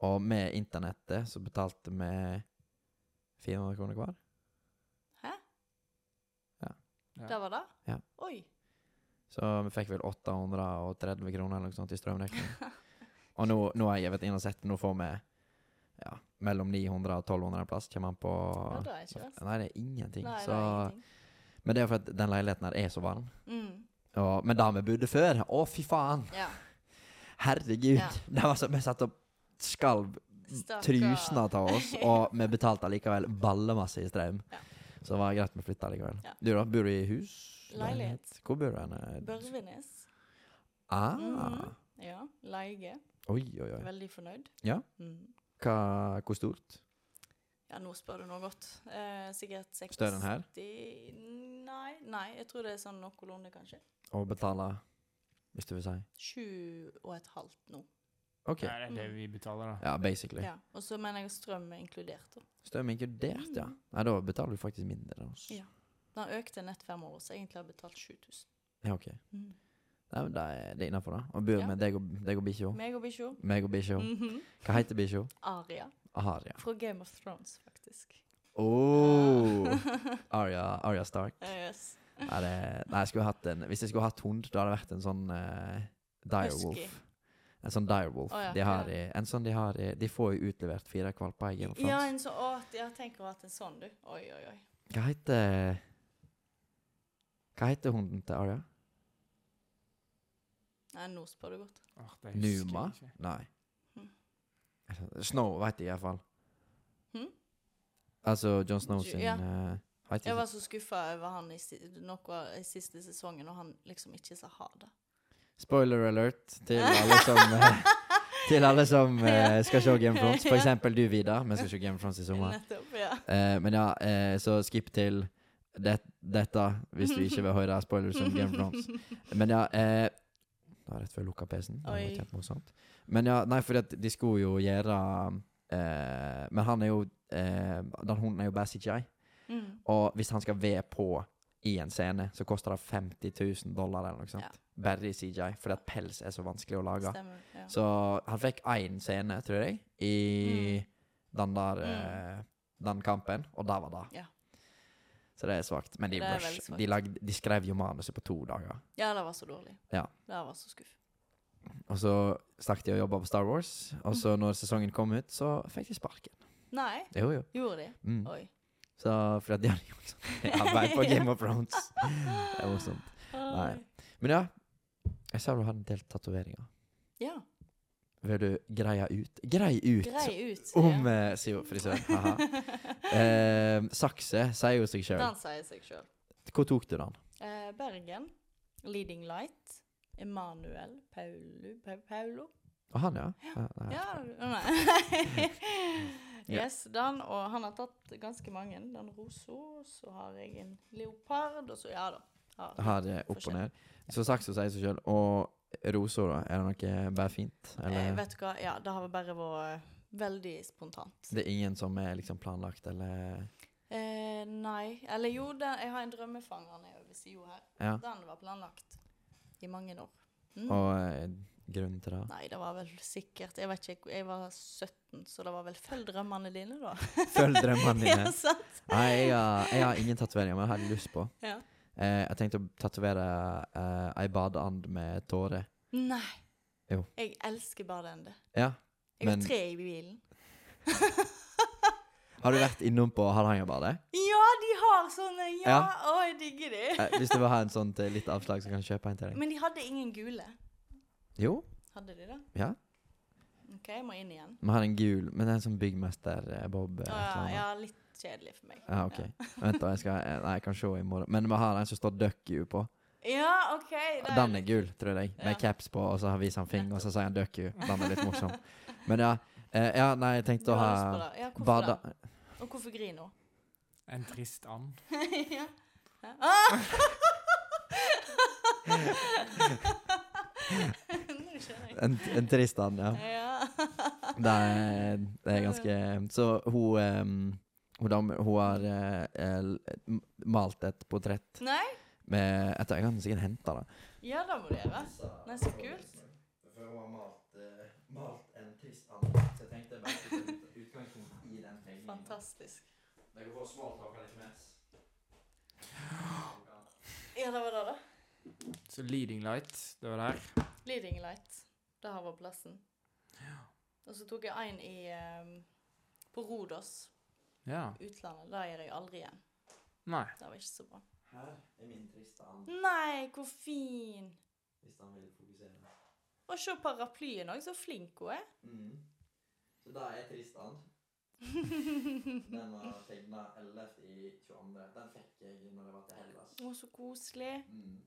Og med internettet så betalte vi 400 kroner hver. Ja. Det var det? Ja. Oi. Så vi fikk vel 830 kroner eller noe sånt i strømregning. og nå, nå har jeg gitt inn og sett, nå får vi ja, mellom 900 og 1200 en plass. Kommer an på Ja, det er ikke verst. Nei, det er ingenting. Nei, det så, er ingenting. men det er jo fordi den leiligheten her er så varm. Mm. Og, men der vi bodde før, å fy faen! Ja. Herregud! Ja. Det var så, vi satt og skalv Stakkar. trusene av oss, og vi betalte likevel ballemasse i strøm. Ja. Så det var greit vi flytta likevel. Ja. Du da, bor du i hus? Leilighet. Hvor bor du hen? Børvenes. Ah. Mhm. Ja. Leie. Oi, oi, oi. Veldig fornøyd. Ja. Mm. Hva, hvor stort? Ja, nå spør du noe godt. Eh, sikkert 60 Større enn her? Nei, nei, jeg tror det er sånn noenlunde, kanskje. Å betale, hvis du vil si. Sju og et halvt nå. OK. Ja, det er det vi betaler, da. Ja, basically. Ja. Og så mener jeg strøm er inkludert. da. Strøm inkludert, ja. Nei, da betaler du faktisk mindre enn oss. Mhm. Ja. Den økte nett fem år, så jeg egentlig har jeg betalt 7000. Ja, OK. Mm. Nei, men det er, det er innafor, da. Og bor Ja. med deg og, deg og bikkja. Meg og bikkja. Meg og bikkja. Mhm. Hva heter bikkja? Aria. Aria. Fra Game of Thrones, faktisk. Oh. Aria, Aria Stark. Ja, yes. Nei, det, nei jeg skulle hatt en, hvis jeg skulle hatt hund, da hadde det vært en sånn eh, Husky. direwolf. En sånn direwolf. Å ja, de har ja. i, en sånn de har i De får jo utlevert fire valper i Game of Ja, Thrones. en så, å, ja, tenk å ha hatt en sånn, du. Oi, oi, oi. Hva heter Hva heter hunden til Aria? Nei, nå spør du godt. Åh, det husker jeg Numa? ikke. Nei. Altså, Hm. Snow vet jeg iallfall. Hm? Altså John Snow Ju- sin ja. eh, vet Jeg ikke- var så skuffa over han i, si- noe av- i siste sesongen, og han liksom ikke sa ha det. Spoiler alert til alle som eh, Til alle som eh, skal se Game of Thrones. For eksempel du, Vidar. Vi skal se Game of Thrones i sommer. Nettopp, ja. Eh, men ja, eh, så skip til det, dette hvis du ikke vil høre spoilers om Game of Thrones. Men ja eh, Det var rett før jeg lukka PC-en. Det var Oi. kjempemorsomt. Men ja, nei, for de skulle jo gjøre eh, Men han er jo eh, Den hunden er jo bare CGI. Mm. Og hvis han skal være på i en scene, så koster det 50 000 dollar eller noe sånt. Ja. Bare i CGI, fordi at pels er så vanskelig å lage. Stemmer. Ja. Så han fikk én scene, tror jeg, i den der Mm. eh, Den kampen, og der var det. Ja. Så det er svakt. Men de, Det er rush, veldig svakt. de, lagde, de skrev jo manuset på to dager. ja, det var så dårlig. Ja. Det var så skuff. Og så stakk de og jobba på Star Wars, og Mm. så når sesongen kom ut, så fikk de sparken. Nei, Jo, jo. gjorde de? Mm. Oi. Så fordi at de hadde gjort sånn arbeid på Game of Thrones. Det er morsomt. Nei. Oi. Men ja, jeg sa du hadde en del tatoveringer. Ja. Vil du greie ut Grei ut Grei ut. om eh, sier jo frisøren. Haha. Eh, sakse sier jo seg sjøl. Den sier seg sjøl. Hvor tok du den? Eh, Bergen. Leading Light. Emanuel Paulu, pa Paulo. Å, Ah, han, ja? ja, nei. Ja, nei. Ja. yes, den, og han har tatt ganske mange. Den rosa, så har jeg en leopard, og så ja da. har- Har det opp og Forskjell. ned. Så saksa sier seg sjøl. Og rosa, da? Er det noe bare fint? Eh, Eller vet du hva, ja, det har bare vært veldig spontant. det er ingen som er liksom planlagt, eller Eh, nei, eller jo, den, jeg har en drømmefanger nede ved sida her. Ja. Den var planlagt i mange år. Mm. Og eh, grunnen til det? Nei, det var vel sikkert Jeg vet ikke, jeg var 17, så det var vel følg drømmene dine, da. Følg drømmene dine. ja, sant? Nei, jeg har, jeg har ingen tatoveringer, men jeg hadde lyst på. Ja. Eh, jeg tenkte å tatovere eh, ei badeand med tårer. Nei. Jo. Jeg elsker bare den. det. Ja. Jeg Men- har tre i bilen. Har du vært innom på Hardangerbadet? Ja, de har sånne! Ja! Ja. Å, jeg digger de. Eh, hvis du vil ha en sånn til litt avslag, så kan jeg kjøpe en til deg. Men de hadde ingen gule. Jo, Hadde de det? ja. OK, jeg må inn igjen. Vi har en gul, men det er en sånn byggmester eh, Bob. eh, et Å, eller ja, annet. ja, litt kjedelig for meg. Ja, ok. Vent, da. Jeg skal eh, Nei, jeg kan se i morgen. Men vi har en som står Duck You på. Ja, OK. da Den er gul, tror jeg. Med Ja. caps på, og så viser han fingeren, og så sier han Duck You. Den er litt morsom. Men ja. eh, Ja, nei, jeg Du tenkte å har ha lyst på det. Ja, hvorfor Bada det? Og hvorfor griner hun? En trist and. ja. Ja. Ah! Nå skjønner jeg. En, en Tristan, ja. Ja. Det er, det er ganske eh, Så hun em, Hun, dame- hun har eh, el- m- malt et portrett Nei? med Jeg tror jeg kan sikkert hente det. Ja, det må du gjøre. Nei, så kult. For hun har malt, en Tristan, så jeg tenkte jeg bare utgangspunkt i den Fantastisk. Det går for å småtalke litt mer. Ja, det var det, da. Så Leading Light, det var det her. Leading Light. Det her var plassen. Og så tok jeg en i ehm, på Rodos, Ja. utlandet. Det gjør jeg aldri igjen. Nei. Det var ikke så bra. Her er min Tristan, Nei, hvor fin! hvis han vil fokusere. Og se paraplyen òg, så flink hun er. Mm. Så da er Tristan. Den var tegna 11. i 22. Den fikk jeg når jeg var til Hellas. Å, så koselig. Mm.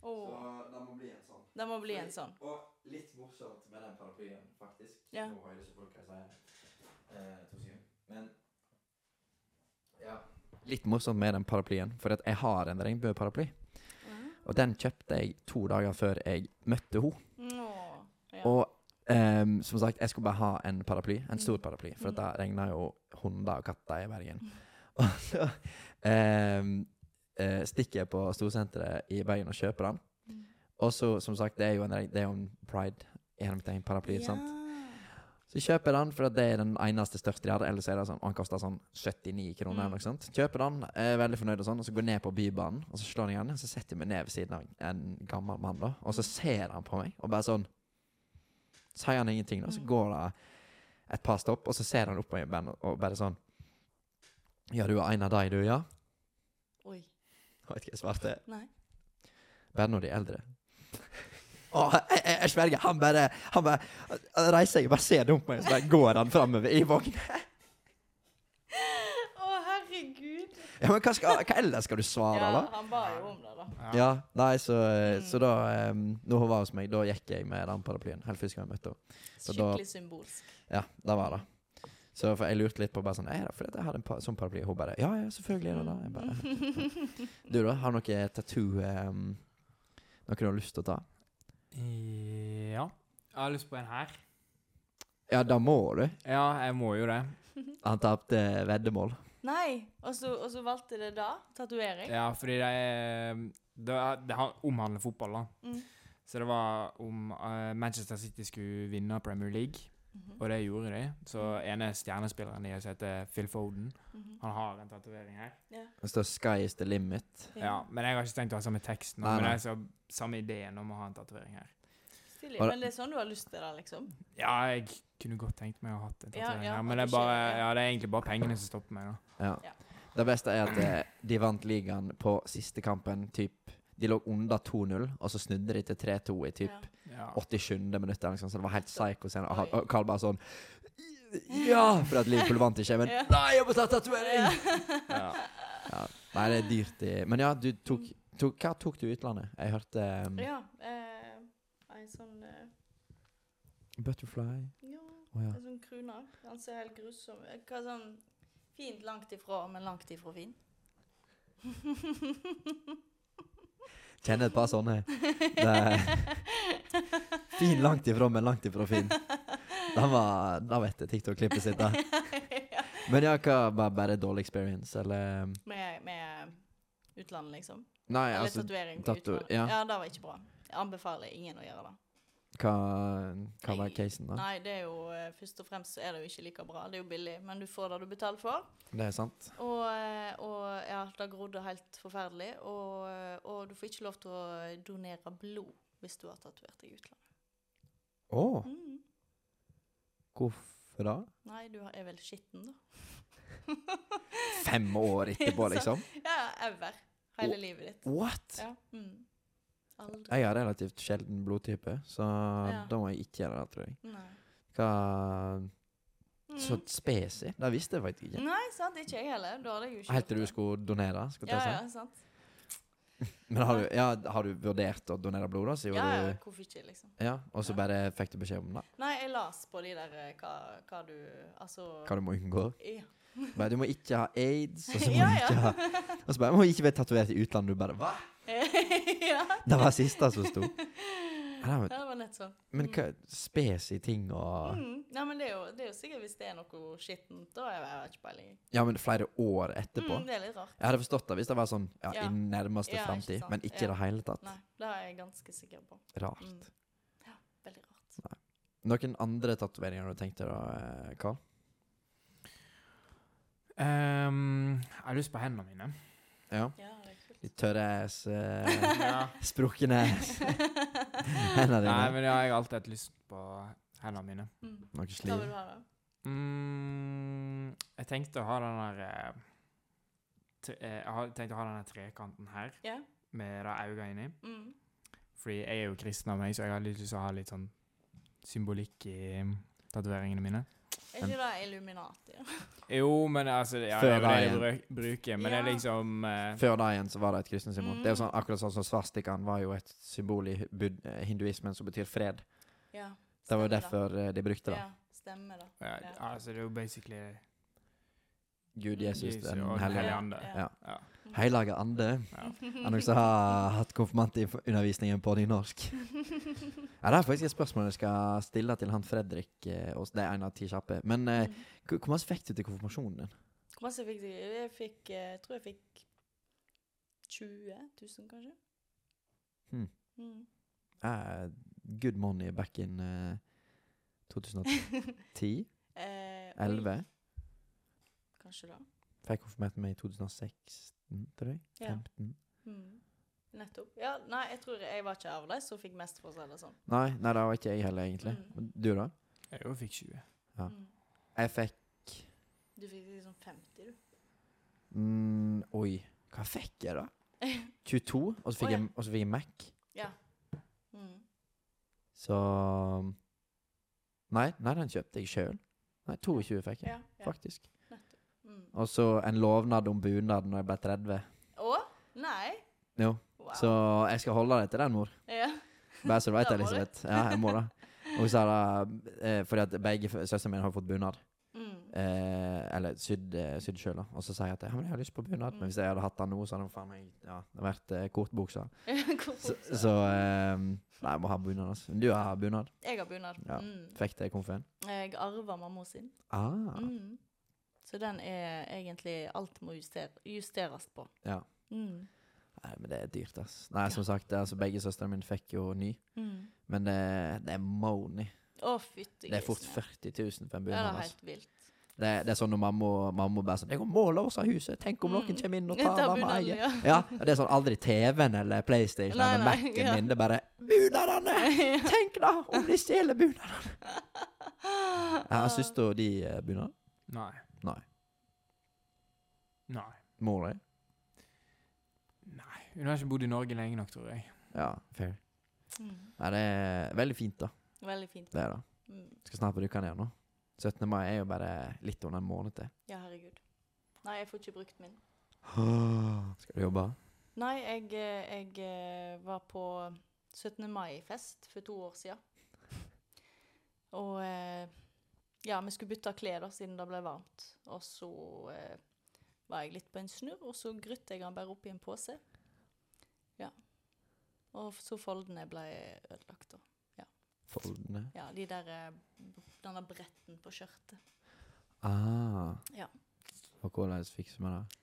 Å, det må bli en sånn. det må bli en sånn. Og litt morsomt med den paraplyen, faktisk. Ja. Nå hører ikke folk hva jeg sier. Eh, to sekunder. Men ja. Litt morsomt med den paraplyen, for at jeg har en regnbueparaply. Og den kjøpte jeg to dager før jeg møtte henne. Nå. Ja. Og ehm, som sagt, jeg skulle bare ha en paraply, en stor paraply, for Mm. at det regna jo hunder og katter i Bergen. Og så ehm, eh, stikker jeg på storsenteret i Bergen og kjøper den. Mm. Og så, som sagt, det er jo en, reg- det er jo en pride i hermetegn paraply, Ja. sant? Så jeg kjøper den, for at det er den eneste største de hadde. Ellers er det sånn, han koster sånn 79 kroner eller noe sånt. Kjøper den, er veldig fornøyd og sånn, og så går jeg ned på Bybanen, og så slår jeg igjen, og så setter jeg meg ned ved siden av en gammel mann da, og så ser han på meg, og bare sånn, sier han ingenting da, så går det et par stopp, og så ser han opp på meg ben- og bare sånn, ja, du er en av deg, du, ja. Oi. Jeg vet ikke hva jeg svarte. Nei. Bare når de er eldre. Åh, jeg, jeg, jeg sverger. Han bare Han bare han reiser seg og bare ser dumt på meg, så bare går han framover i vogn. Å, herregud. Ja, men hva, skal, ah, hva ellers skal du svare, Ja, Mm. da? han ba jo om det, da. Ja, nei, så, eh, så da um, Når hun var hos meg, da gikk jeg med den paraplyen. Helt første gang jeg møtte henne. Så da- Skikkelig symbolsk. Ja, det var det. Så for jeg lurte litt på bare sånn Er det fordi jeg hadde en pa sånn paraply? Hun bare Ja, ja, selvfølgelig er det det. Jeg bare, du, da? Har du noe tattoo um, Noe du har lyst til å ta? Ja. Jeg har lyst på en her. Ja, da må du. Ja, jeg må jo det. Han tapte veddemål. Nei, og så, og så valgte det da? Tatovering? Ja, fordi det er Det, er- det han- omhandler fotball, da. Mm. Så det var om eh, Manchester City skulle vinne Premier League, Mhm, og det gjorde de. Mm. Så ene stjernespilleren deres heter Phil Foden. mhm. Han har en tatovering her. Ja. Det står 'Sky is the limit'. Ja, Men jeg har ikke tenkt å ha samme teksten, Nei, men det nei. er så, samme ideen om å ha en tatovering her. Stilig. Har- Men det er sånn du har lyst til det, liksom? Ja, jeg kunne godt tenkt meg å ha hatt en Ja, tatovering ja, her, at men det er, det skjer, bare, ja. ja, det er egentlig bare pengene som stopper meg, da. Ja. Ja. Det beste er at eh, de vant ligaen på siste kampen. Typ, de lå under 2-0, og så snudde de til 3-2 i typ Ja. Ja. 87. minutt. eller noe sånt, Så det var helt psycho. scene, Og han- Oi. og Carl bare sånn Ja! For at Liverpool vant ikke. Men Ja. nei, jeg må ta tatovering! Ja. Nei, det er dyrt. i- Men ja, du tok, tok Hva tok du i utlandet? Jeg hørte um, Ja. Eh, en sånn eh, Butterfly. Ja, Å ja. en sånn krone. Han ser helt grusom eh, Hva sånn Fint langt ifra, men langt ifra fin. Kjenner et par sånne. Det er fin langt ifra, men langt ifra fin. Da var Da vet jeg TikTok-klippet sitt, da. Men ja, hva var bare dårlig experience, eller um, Med, med utlandet, liksom. Nei, Eller altså tatovering på tato- utlandet. ja. Ja. det var ikke bra. Jeg anbefaler ingen å gjøre det. Hva, hva var Nei. casen, da? Nei, det er jo eh, først og fremst så er det jo ikke like bra. Det er jo billig, men du får det du betaler for. Det er sant. Og, eh, og ja, det grodde helt forferdelig. Og, eh, og du får ikke lov til å donere blod hvis du har tatovert deg i utlandet. Å, Mm. hvorfor da? Nei, du er vel skitten, da. Fem år etterpå, Ja, sant. liksom? Ja, ever. Hele livet ditt. What? Ja. Mm. Aldri. Jeg har relativt sjelden blodtype, så Ja. da må jeg ikke gjøre det, tror jeg. Nei. Hva Mm. Så spesi? Det visste jeg faktisk ikke. Nei, sant, ikke jeg heller. Da hadde jeg jo ikke Helt altså. gjort til du det. skulle donere? Skulle Mm. jeg til Ja, å si. ja, sant. Men har du, ja, har du vurdert å donere blod, da? Så Ja, gjorde ja, du hvorfor ikke, liksom. Ja, og så bare fikk du beskjed om det? Nei, jeg las på de der eh, hva, hva du Altså Hva du må unngå? Ja. Bare, du må ikke ha aids, og så må Ja, du ja. ikke ha Og så bare må du ikke bli tatovert i utlandet. Du bare Hva?! ja. Det var siste som sto. Ja, Ja, men- Det var nett sånn. Men hva spesi ting og Mm. Nei, men det er, jo, det er jo sikkert hvis det er noe skittent, da har jeg ikke peiling. Ja, men flere år etterpå? Mm, det er litt rart. Jeg hadde forstått det hvis det var sånn ja, Ja. i nærmeste Ja, ikke framtid, sant. men ikke i Ja. det hele tatt. Nei, det er jeg ganske sikker på. Rart. Mm. Veldig rart. Noen andre tatoveringer du tenkte da, eh, Karl? Ehm, jeg har lyst på hendene mine. Ja. Ja, det er kult. Litt tørre ass, eh, Ja. sprukken ass, hendene Nei, dine. men ja, jeg har alltid hatt lyst på hendene mine. Mm. Noe Hva vil sliv. du ha, da? Mm, jeg tenkte å ha den der eh, tre, eh, Jeg har- tenkte å ha den der trekanten her, Ja? med det øynene inni. Mm. Fordi jeg er jo kristen av meg, så jeg har litt lyst til å ha litt sånn symbolikk i tatoveringene mine. Er ikke det Illuminati? Jo, men altså ja, Det Før er jo det jeg veien. bruk- bruker, men det er Ja. liksom eh, Før da igjen så var det et kristent symbol. Mm. Det er jo sånn, akkurat sånn som svastikaen var jo et symbol i bud- eh, hinduismen som betyr fred. Ja. Det var jo stemmer derfor eh, de brukte det. Ja, stemmer det. ja, Altså, det er jo basically Gud, Jesus, Jesus den og Den hellige. hellige ånd. ande. Ja. Ja. Hellige ande. Ja. Er det noen som har hatt konfirmantundervisningen på nynorsk? Ja, det er faktisk et spørsmål jeg skal stille til han Fredrik. eh, og s- Det er en av ti kjappe. Men eh, Mm. hvor hvor masse fikk du til konfirmasjonen din? Hvor masse fikk du? Jeg fikk, eh, jeg tror jeg fikk 20 000, kanskje. Hmm. Mm. Eh, good money back in eh, 2010? Eh, oi, 11? Kanskje da. Fikk konfirmert meg i 2016, tror jeg. Ja. 15? Mm. Nettopp. Ja, nei, jeg tror jeg var ikke av de som fikk mest, for å si det sånn. Nei, nei, det var ikke jeg heller, egentlig. Mm. Du, da? Jeg jo fikk 20. Ja. Mm. Jeg fikk Du fikk liksom 50, du. mm, Oi, hva fikk jeg, da? 22, og så Å, fikk, ja. jeg, og så fikk jeg Mac. Mm. Så Nei, nei den kjøpte jeg sjøl. Nei, 22 fikk jeg, Ja, ja. faktisk. Mm. Og så en lovnad om bunad når jeg ble 30. Å? Nei? Jo, Wow. Så jeg skal holde deg til den, mor. Ja. Bare så du vet Da det, må du. Elisabeth. Ja, jeg må det. Og så er det eh, fordi at begge f- søstrene mine har fått bunad. Mm. Eh, eller sydd eh, sydd sjøl, da. Og så sier jeg at ja, men jeg har lyst på bunad. Mm. Men hvis jeg hadde hatt den nå, så hadde den faen meg ja, det hadde vært eh, kortbuksa. Så, Hvorfor? så eh, Nei, jeg må ha bunad, altså. Men Du har bunad. Jeg har bunad. Ja. Mm. Fikk det konfen? Jeg arva mamma sin. Ah, Mm. Så den er egentlig Alt må juster, justeres på. ja. Mm. Nei, men det er dyrt, ass. Nei, som sagt, altså, begge søstrene mine fikk jo ny. Mm. Men det, det er money. Å, fytti Det er fort grisen, 40 000 for en Ja, Ja, det bunad. er Altså. helt vilt. Det, det er sånn når mamma, mamma bare sånn 'Jeg må låse huset. Tenk om noen Mm. kommer inn og Jeg tar tar hva vi bunaden, eier.' ja. Ja, det er sånn aldri TV-en eller PlayStation Nei, eller nei, Mac-en ja. min. Det er bare 'Bunadene! Tenk da, om de stjeler bunadene!' Ja, Syns du de eh, bunad? Nei. Nei. Nei. Må de? Nei. Hun har ikke bodd i Norge lenge nok, tror jeg. Ja, fair. Mm. Nei, det er veldig fint, da. Veldig fint. Det er det. Mm. Skal snart bruke den igjen nå. 17. mai er jo bare litt under en måned til. Ja, herregud. Nei, jeg får ikke brukt min. Skal du jobbe? Nei, jeg, eh, jeg eh, var på 17. mai-fest for to år siden. Og eh, ja, vi skulle bytte klær da, siden det ble varmt. Og så eh, var jeg litt på en snurr, og så grytte jeg den bare opp i en pose. Ja. Og f- så foldene ble ødelagt da. Foldene. Ja, de der, eh, b- denne bretten på skjørtet. Ah. Ja. Og hvordan fikser vi det?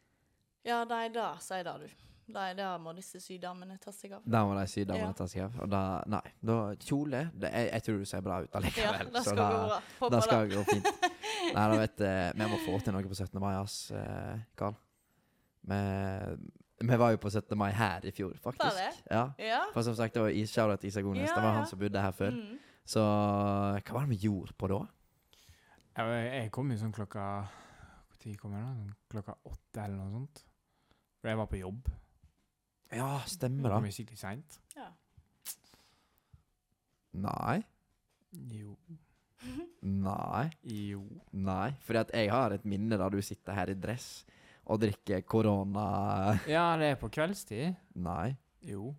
Ja, nei, da sier det du. Nei, det må disse sydamene ta seg av. Der må de sy, der må Ja. de ta seg av. Og da, nei, da kjole det, jeg, jeg tror du ser bra ut Ja, allikevel. det så skal da, gå bra. da Håper det. skal det gå fint. Nei, da vet eh, Vi må få til noe på 17. mai, ass, eh, Karl. Vi, vi var jo på 17. mai her i fjor, Var faktisk. det? Ja. Ja. For som sagt, det var i- Shoutout til Isak Gones. Ja, det var ja. han som bodde her før. Mm. Så hva var det vi gjorde på da? Jeg, jeg kom jo sånn klokka Hvor tid kom jeg da? Sånn Klokka åtte eller noe sånt. For jeg var på jobb. Ja, Jeg stemmer kom det. jo skikkelig seint. Ja. Nei. Jo. Nei. Jo. Nei. Fordi at jeg har et minne da du sitter her i dress og drikker korona Ja, det er på kveldstid. Nei. Jo.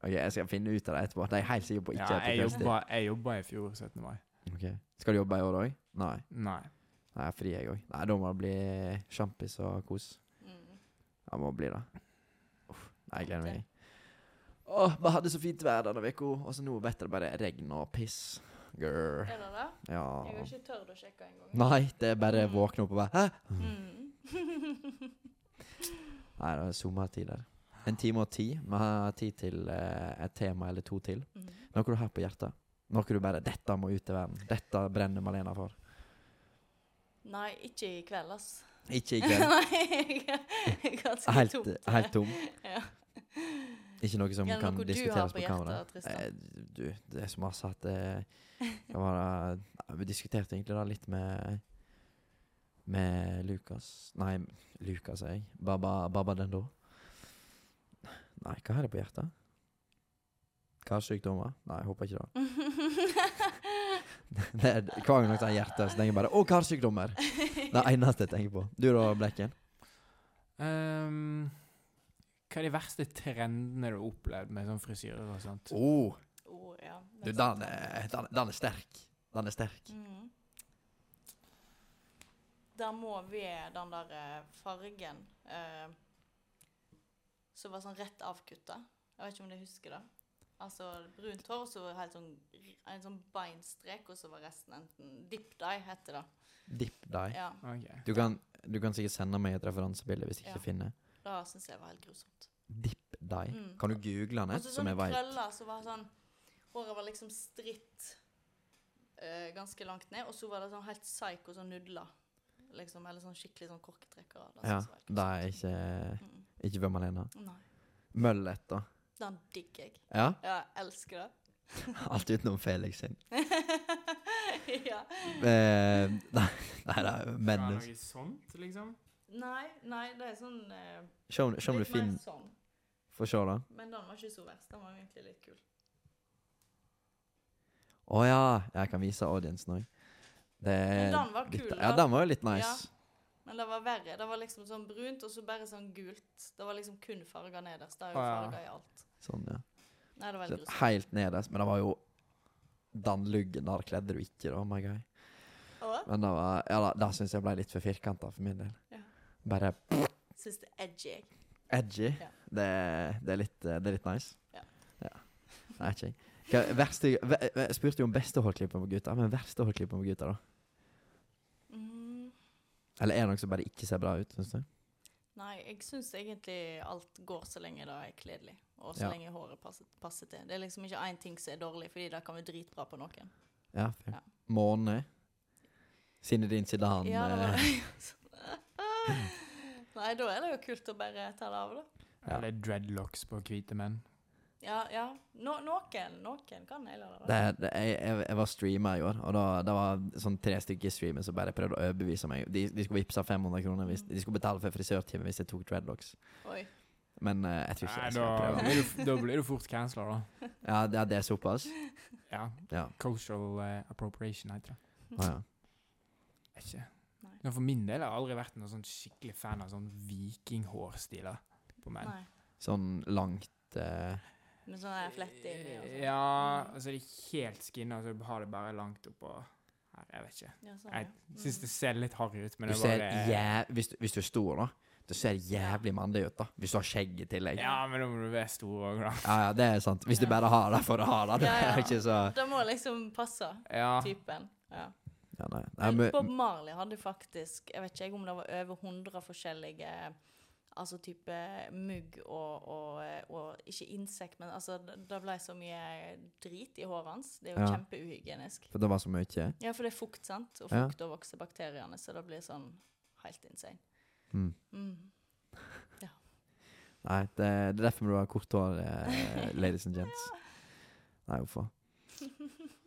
Ok, Jeg skal finne ut av det etterpå. Det er jeg helt sikker på ikke Ja, er på jeg kveldstid. jobba, jeg jobba i fjor 17. mai. Ok. Skal du jobbe i år òg? Nei. Nei. Nei, jeg er fri, jeg òg. Nei, da må det bli sjampis og kos. Mm. Jeg må bli det. Uff, nei, jeg gleder meg. Åh, vi hadde så fint vær denne uka, og så nå vet det bare regn og piss. Grr. Er det det? Ja. Jeg har ikke tørt å sjekke engang. Nei, det er bare våkne opp og bare Hæ? Mm. Nei, det er sommertider. En time og ti. Vi har tid til eh, et tema eller to til. Mm. Noe du har på hjertet. Noe du bare 'Dette må ut i verden'. Dette brenner Malena for. Nei, ikke i kveld, ass. Ikke i kveld. Nei, jeg er ganske Helt, tomt. helt tom. Ja. Ikke noe som Er det kan noe du har diskuteres på på, kamera. hjertet, Tristan? Eh, du, det er så masse at eh, det var, eh, nei, Vi diskuterte egentlig da litt med Med Lukas Nei, Lukas, jeg. Baba, Baba den da. Nei, hva har jeg på hjertet? Karsykdommer? Nei, jeg håper ikke det. det er, hver gang noen sier hjerte, så tenker jeg bare 'Å, karsykdommer'. Det er det eneste jeg tenker på. Du da, Blekken? Ehm, hva er de verste trendene du har opplevd med sånn frisyrer og sånt? Oh, Å, ja, sånn, det du, eh, er den, sant. er- den, den er sterk. Den er sterk. Mm. Da må vi den der eh, fargen eh, som var sånn rett avkutta. Jeg vet ikke om du husker det. Altså brunt hår, og så helt sånn, en sånn beinstrek, og så var resten enten Dip dye, heter det. Dipp deg. Ja, Ok. Du kan, du kan sikkert sende meg et referansebilde hvis ikke Ja. du finner. Det syns jeg var helt grusomt. Dip deg. Mm. sånn Kan du google den, Og et, så som sånne jeg vet? krøller som var sånn Håret var liksom stritt eh, ganske langt ned, og så var det sånn helt psycho sånn nudler. Liksom, eller sånn skikkelig sånn korketrekkere. Det Ja, synes jeg var helt det er ikke, grusomt. Mm. ikke hvem alene. Nei. Møllet, da. Den digger jeg. Ja, Ja, jeg elsker det. alt utenom Felix sin. ja. Eh, nei, nei, det er Skal mennes. noe sånt, liksom? Nei, nei, det er sånn eh, Se om, se om du Litt mer finner sånn. Få se, da. Men den var ikke så verst. Den var egentlig litt kul. Å ja, jeg kan vise audiencen òg. Det Men er den var dipp- kul, Ja, da. den var jo litt nice. Men det var verre. Det var liksom sånn brunt, og så bare sånn gult. Det var liksom kun farger nederst. Det er jo Å, ja. farger i alt. Sånn, ja. Nei, det var Så helt grusomt. Helt nederst. Men det var jo den luggen der kledde du ikke, da, Oh my guy. Og Men det var Ja da, det syns jeg ble litt for firkanta for min del. Ja. Bare syns det er edgy. jeg. Edgy. Ja. Det, det, er litt, eh, det er litt nice. Ja. Ja. Nei, ikke jeg. Hva, verste, ve- ve- jeg spurte jo om beste hårklippet med gutta, men verste hårklippet med gutta, da? Mm. Eller er det noe som bare ikke ser bra ut, syns du? Nei, jeg syns egentlig alt går så lenge det er kledelig, og så Ja. lenge håret passer, passer til. Det er liksom ikke én ting som er dårlig, fordi det kan være dritbra på noen. Ja. fair. Ja. Måne. Sinedin Sidan. Ja, det var eh, Nei, da er det jo kult å bare ta det av, da. Ja. Eller dreadlocks på hvite menn? Ja, ja. Nå- noen, noen kan naile det. da. det, det, jeg, jeg, jeg var streamer i år, og da det var sånn tre stykker streamer som bare prøvde å overbevise meg. De, de skulle vippse 500 kroner hvis, De skulle betale for frisørtime hvis jeg tok dreadlocks. Oi. Men eh, jeg tror ikke Nei, jeg da, skal prøve. blir du, da blir du fort cancela, da. Ja, det, det er såpass? Ja. Ja. Cultural eh, appropriation heter det. Ah, ja. Er Ikke. Nei. Men for min del har jeg aldri vært noen sånn skikkelig fan av sånn vikinghårstiler på menn. Nei. Sånn langt eh, Med sånn der flett inni og sånn. Ja, altså det er helt skinna, og så har det bare langt oppå her. Jeg vet ikke. Ja, sånn, Jeg ja. syns det ser litt harry ut, men du det ser bare jæv hvis, du- hvis du er stor, da. Du ser jævlig mandig ut, da. Hvis du har skjegg i tillegg. Ja, men da må du være stor òg, da. Ja, ja, det er sant. Hvis du bare har det for å ha det. Det Ja, ja. er ikke så Det må liksom passe Ja. typen. Ja. ja, nei. Nei, Men Bob men, Marley hadde faktisk Jeg vet ikke jeg om det var over 100 forskjellige Altså type mugg og, og, og Ikke insekt, men altså det det ble så mye drit i håret hans. Det er jo Ja. kjempeuhygienisk. For det var så mye. Ja, for det er fukt, sant? Og Ja. fukt overvokser bakteriene, så det blir sånn helt insane. Mm. Mm. Nei, det, det er derfor du har kort hår, eh, ladies and gents. Nei, hvorfor?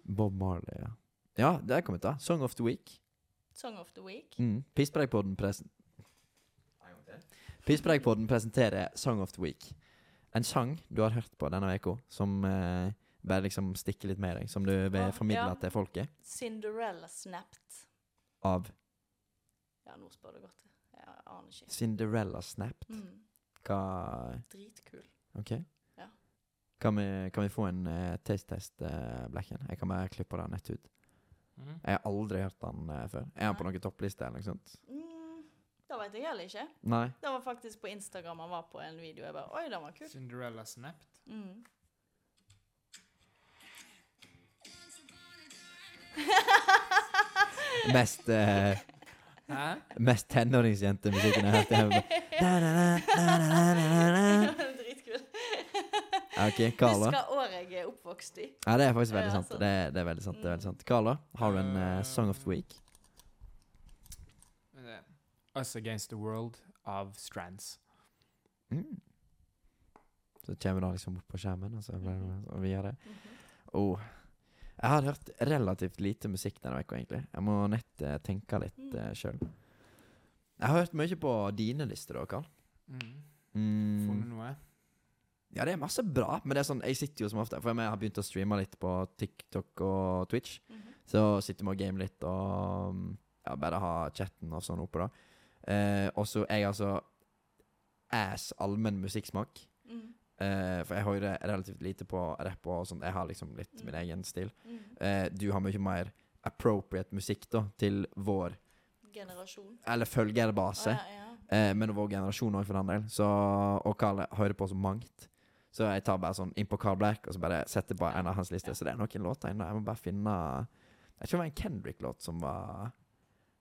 Bob Marley, ja. Ja, det er kommet, da. Song of the Week. Song of the week. Mm. Pisspreikpodden presen Pisspreikpodden presenterer Song of the Week. En sang du har hørt på denne uka, som eh, Bare liksom stikke litt med deg, som du vil Ja, formidle ja. til folket. Cinderella snapped. Av Ja, nå spør du godt. Jeg aner ikke. Cinderella Snap. Mm. Hva Dritkul. OK? Ja. Kan vi, kan vi få en eh, taste-test, eh, Blacken? Jeg kan bare klippe det nett ut. Mhm. Jeg har aldri hørt den eh, før. Er han på noen toppliste eller noe sånt? Mm, det vet jeg heller ikke. Nei? Det var faktisk på Instagram han var på en video. Jeg bare Oi, den var kul. Cinderella snapped. Mm. Mest, eh, Hæ? mest tenåringsjentemusikken jeg har hørt. i hele mitt- Da, da, da, da, da, da, da, da. Dritkul. Ja, OK, Carl, da? Husker året jeg er oppvokst i. Ja, det er faktisk Ja, altså. Ah. veldig sant. sant. Det er, det er veldig sant. det er veldig sant. Carl, da? Har du en eh, Song of the Week? Men det- Us Against the World av Strands. Mm. Så kommer det liksom opp på skjermen, og så blir det- sånn, og vi gjør det. Mhm. Oh. Jeg har hørt relativt lite musikk denne uka, egentlig. Jeg må nett eh, tenke litt Mm. uh, sjøl. Jeg har hørt mye på dine lister, da, Karl. Mm. Funnet Mm. noe? Ja, det er masse bra, men det er sånn, jeg sitter jo som ofte For jeg har begynt å streame litt på TikTok og Twitch. Mhm. Så sitter vi og gamer litt og mm, ja, bare ha chatten og sånn oppe, da. Eh, og så er jeg altså ass allmenn musikksmak. Mhm. Eh, for jeg hører relativt lite på rapp og sånt. Jeg har liksom litt min egen stil. Mhm. Eh, du har mye mer appropriate musikk da til vår Mhm. Generasjon. Eller følgerbase. Å, ja, ja. Eh, men vår generasjon òg, for den del. Så, og Karl hører på så mangt. Så jeg tar bare sånn inn på Carl Black og så bare setter på en av hans lister. Så det er noen låter inne. Jeg må bare finne Jeg tror det var en Kendrick-låt som var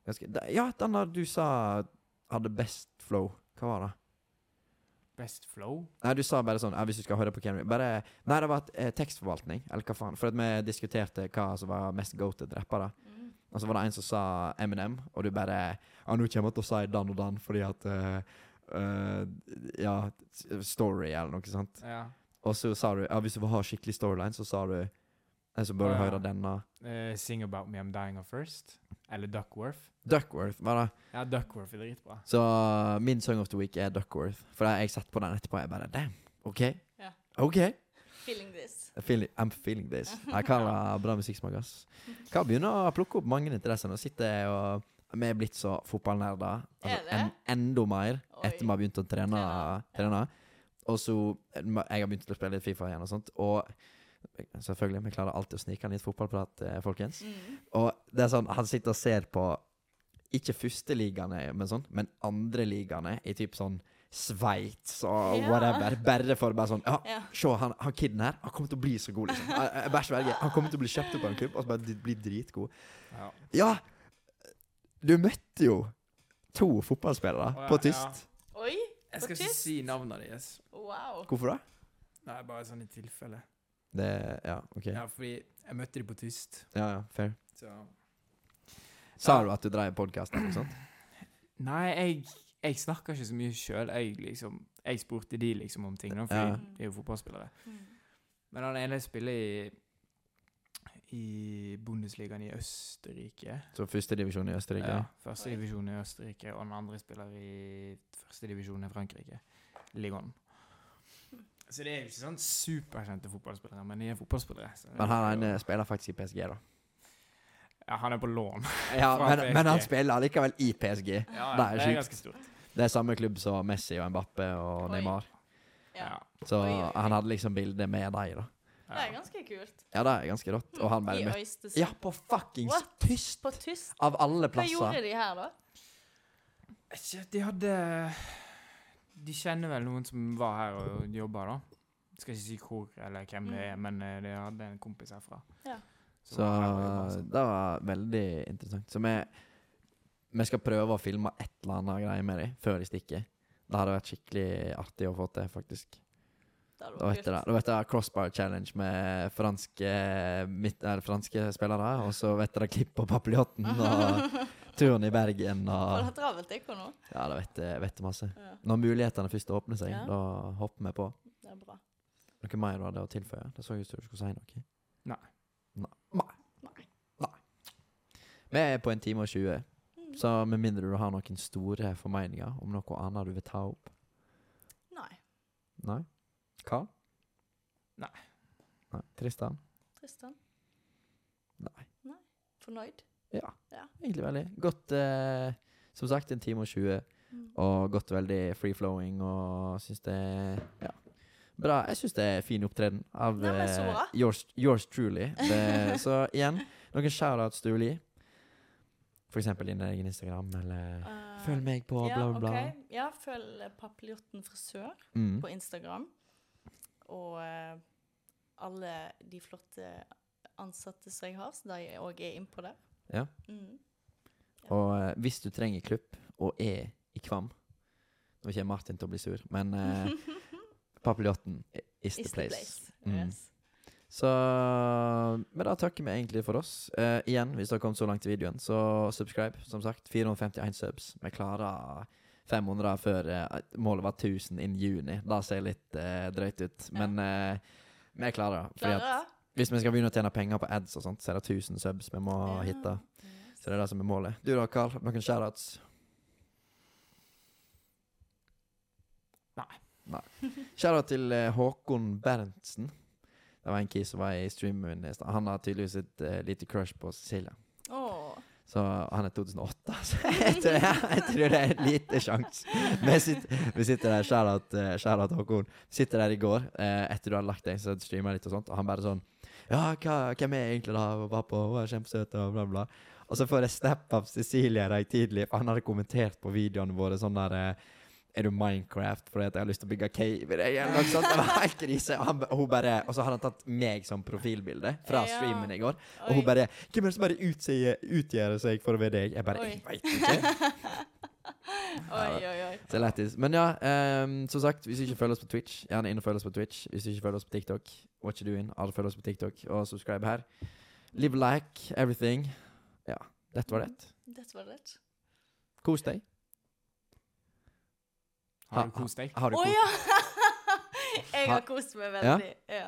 ganske da- Ja, den der du sa hadde best flow. Hva var det? Best Flow? Nei, du sa bare sånn ja, Hvis du skal høre på Kendrick Bare Nei, det var et, eh, tekstforvaltning, eller hva faen. For at vi diskuterte hva som var mest goated rappere. Mhm. Og så var det en som sa Eminem, og du bare Ja, nå kommer jeg til å si den og den fordi at eh, eh, Ja, story eller noe sånt. Ja. Og så sa du Ja, hvis du vil ha skikkelig storyline, så sa du eh, Så bør du Å, ja. høre denne. Eh, sing About Me I'm Dying of First. Eller Duckworth. Duckworth, var det. Ja, Duckworth er dritbra. Så min song of the week er Duckworth. For jeg satt på den etterpå, og jeg bare Damn, OK? Ja. OK? Feeling this. I feel, I'm feeling this. Jeg kaller bra musikksmak, ass. Hva begynner å plukke opp mange interesser? Nå sitter jeg og vi er blitt så fotballnerder. Er Altså, det? en, enda mer Oi. etter vi har begynt å trene. Trene, trene. Og så Jeg har begynt å spille litt Fifa igjen og sånt. Og selvfølgelig, vi klarer alltid å snike inn litt fotballprat, eh, folkens. Mhm. Og det er sånn, han sitter og ser på ikke førsteligaene, men sånn, men andreligaene i typ sånn Sveits og Ja. whatever. Bare for bare sånn Ja, Ja. Se, han, han kiden her, han kommer til å bli så god, liksom. Jeg, jeg bare sverger. Han kommer til å bli kjøpt opp av en klubb og så bare bli dritgod. Ja. Ja! Du møtte jo to fotballspillere Å, ja, på tyst. Oi! Jeg På skal ikke tyst? si navnet deres. Wow. Hvorfor det? Nei, bare sånn i tilfelle. Det Ja, OK. Ja, Ja, fordi jeg møtte dem på tyst. ja, fair. Så Sa Ja. du at du drev podkast eller noe sånt? Nei, jeg, jeg snakker ikke så mye sjøl. Jeg, liksom, jeg spurte de liksom om ting, da, for Ja. de er jo fotballspillere. Mhm. Men han ene spiller i, i Bundesligaen i Østerrike. Så førstedivisjon i Østerrike? Ja, Førstedivisjon i Østerrike, og den andre spiller i førstedivisjon i Frankrike. Ligon. Så det er jo ikke sånn superkjente fotballspillere, men de er fotballspillere. så- Men han ene spiller faktisk i PSG, da. Ja, han er på lån. Ja, Fra men, PSG. men han spiller allikevel i PSG. Ja, Det er det er sjukt. ganske stort. Det er samme klubb som Messi og Mbappe og Oi. Neymar. Ja. Så Oi, oi, oi. han hadde liksom bilde med dem, da. Det er ganske kult. Mhm. Ja, det er ganske rått. Og han bare I møtte Øystese. Ja, på fuckings What? tyst! På tyst. Av alle Hva gjorde plasser. de her, da? Ikke, de hadde De kjenner vel noen som var her og jobba, da. Skal ikke si hvor eller hvem det er, men eh, de hadde en kompis herfra. Ja. som Så var her og jobbet, så- det var veldig interessant. Så vi, vi skal prøve å filme et eller annet greie med dem før de stikker. Det hadde vært skikkelig artig å få til, faktisk. Det hadde Da vet vært jeg det. Da vet jeg Crossbar Challenge med franske, midt, eller, franske spillere, og så vet dere klipp på papiljotten og turen i Bergen Var og det travelt, det, nå? Ja, da vet jeg vet jeg masse. Ja, Når mulighetene først åpner seg, Ja. da hopper vi på. det er bra. Noe mer du hadde å tilføye? Det så ut som du skulle si noe. Nei. Nei. Nei. Nei. Vi er på en time og 20, Mm. så med mindre du har noen store formeninger om noe annet du vil ta opp Nei. Nei? Karl? Nei. Nei. Tristan? Tristan? Nei. Fornøyd? Ja. Ja. Egentlig veldig. Godt eh, Som sagt, en time og 20, Mm. og gått veldig free-flowing, og syns det Ja. Bra. Jeg syns det er fin opptreden av Nei, men så eh, bra. yours, yours truly. Det, så igjen, noen shoutouts du vil gi? For eksempel din egen Instagram, eller Eh, Følg meg på bla, bla, bla. ok. Ja, følg eh, Papiljotten frisør Mm. på Instagram. Og eh, alle de flotte ansatte som jeg har, så de òg er innpå der. Ja. Mm. Og eh, hvis du trenger klubb og er i Kvam Nå kommer Martin til å bli sur, men eh, Papiljotten is, the place. Mm. Yes. Så Men da takker vi egentlig for oss. Eh, igjen, hvis dere har kommet så langt i videoen, så subscribe. Som sagt, 451 subs. Vi klarer 500 før eh, målet var 1000 innen juni. Det ser litt eh, drøyt ut, men eh, vi klarer det. Fordi at Klarer? hvis vi skal begynne å tjene penger på ads og sånt, så er det 1000 subs vi må Ja. hitte. Mm. Yes. Så det er det som er målet. Du da, Carl? Noen shoutouts? Nei. Nei. Shoutout til eh, Håkon Berntsen. Det var en kis som var i streamen min i stad. Han har tydeligvis et eh, lite crush på Cecilia. Åh. Så han er 2008, så jeg tror, jeg, tror det er en lite sjans. Vi sitter, vi sitter der, shoutout, eh, shoutout Håkon. Vi sitter der i går, eh, etter du hadde lagt deg, så streama jeg litt og sånt, og han bare sånn Ja, hva, hvem er jeg egentlig da? Og bare på, Hun er kjempesøt, og bla, bla. Og så får jeg snap av Cecilie i dag tidlig, for han hadde kommentert på videoene våre sånn der eh, er du Minecraft fordi at jeg har lyst til å bygge cave i deg? Eller noe sånt. Det var helt krise. Og, han, ba- hun bare, og så hadde han tatt meg som profilbilde fra Ja. streamen i går. Og Oi. hun bare 'Hvem er det som bare utsier, utgjør seg for å være deg?' Jeg bare Oi. 'Jeg veit ikke'. Oi, oi, oi. Så lættis. Men ja, ehm, som sagt, hvis du ikke følger oss på Twitch, gjerne inn og følg oss på Twitch. Hvis du ikke følger oss på TikTok, what you doing? Alle følger oss på TikTok, og subscribe her. Live like everything. Ja, dette var det. Dette var det. Kos deg. Har du kost deg? Har Å du kost ja! jeg har Ha- kost meg Ja? veldig. Ja.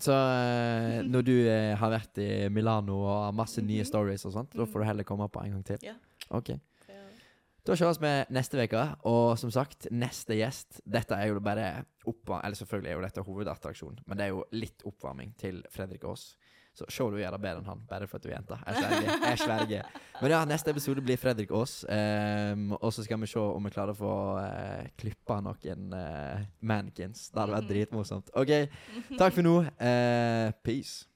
Så eh, når du eh, har vært i Milano og har masse nye Mhm. stories og sånt, da får du heller komme på en gang til. Ja. Ok. Ja. Da kjøres vi neste uke, og som sagt, neste gjest Dette er jo bare oppvarming Eller selvfølgelig er jo dette hovedattraksjon, men det er jo litt oppvarming til Fredrik Aas. Så se du gjør det bedre enn han, bare for at du er jente. Jeg sverger. Jeg sverger. Men ja, neste episode blir Fredrik Aas. ehm, og så skal vi se om vi klarer å få uh, klippa noen eh, mankins. Det hadde vært dritmorsomt. OK, takk for nå. Eh, peace.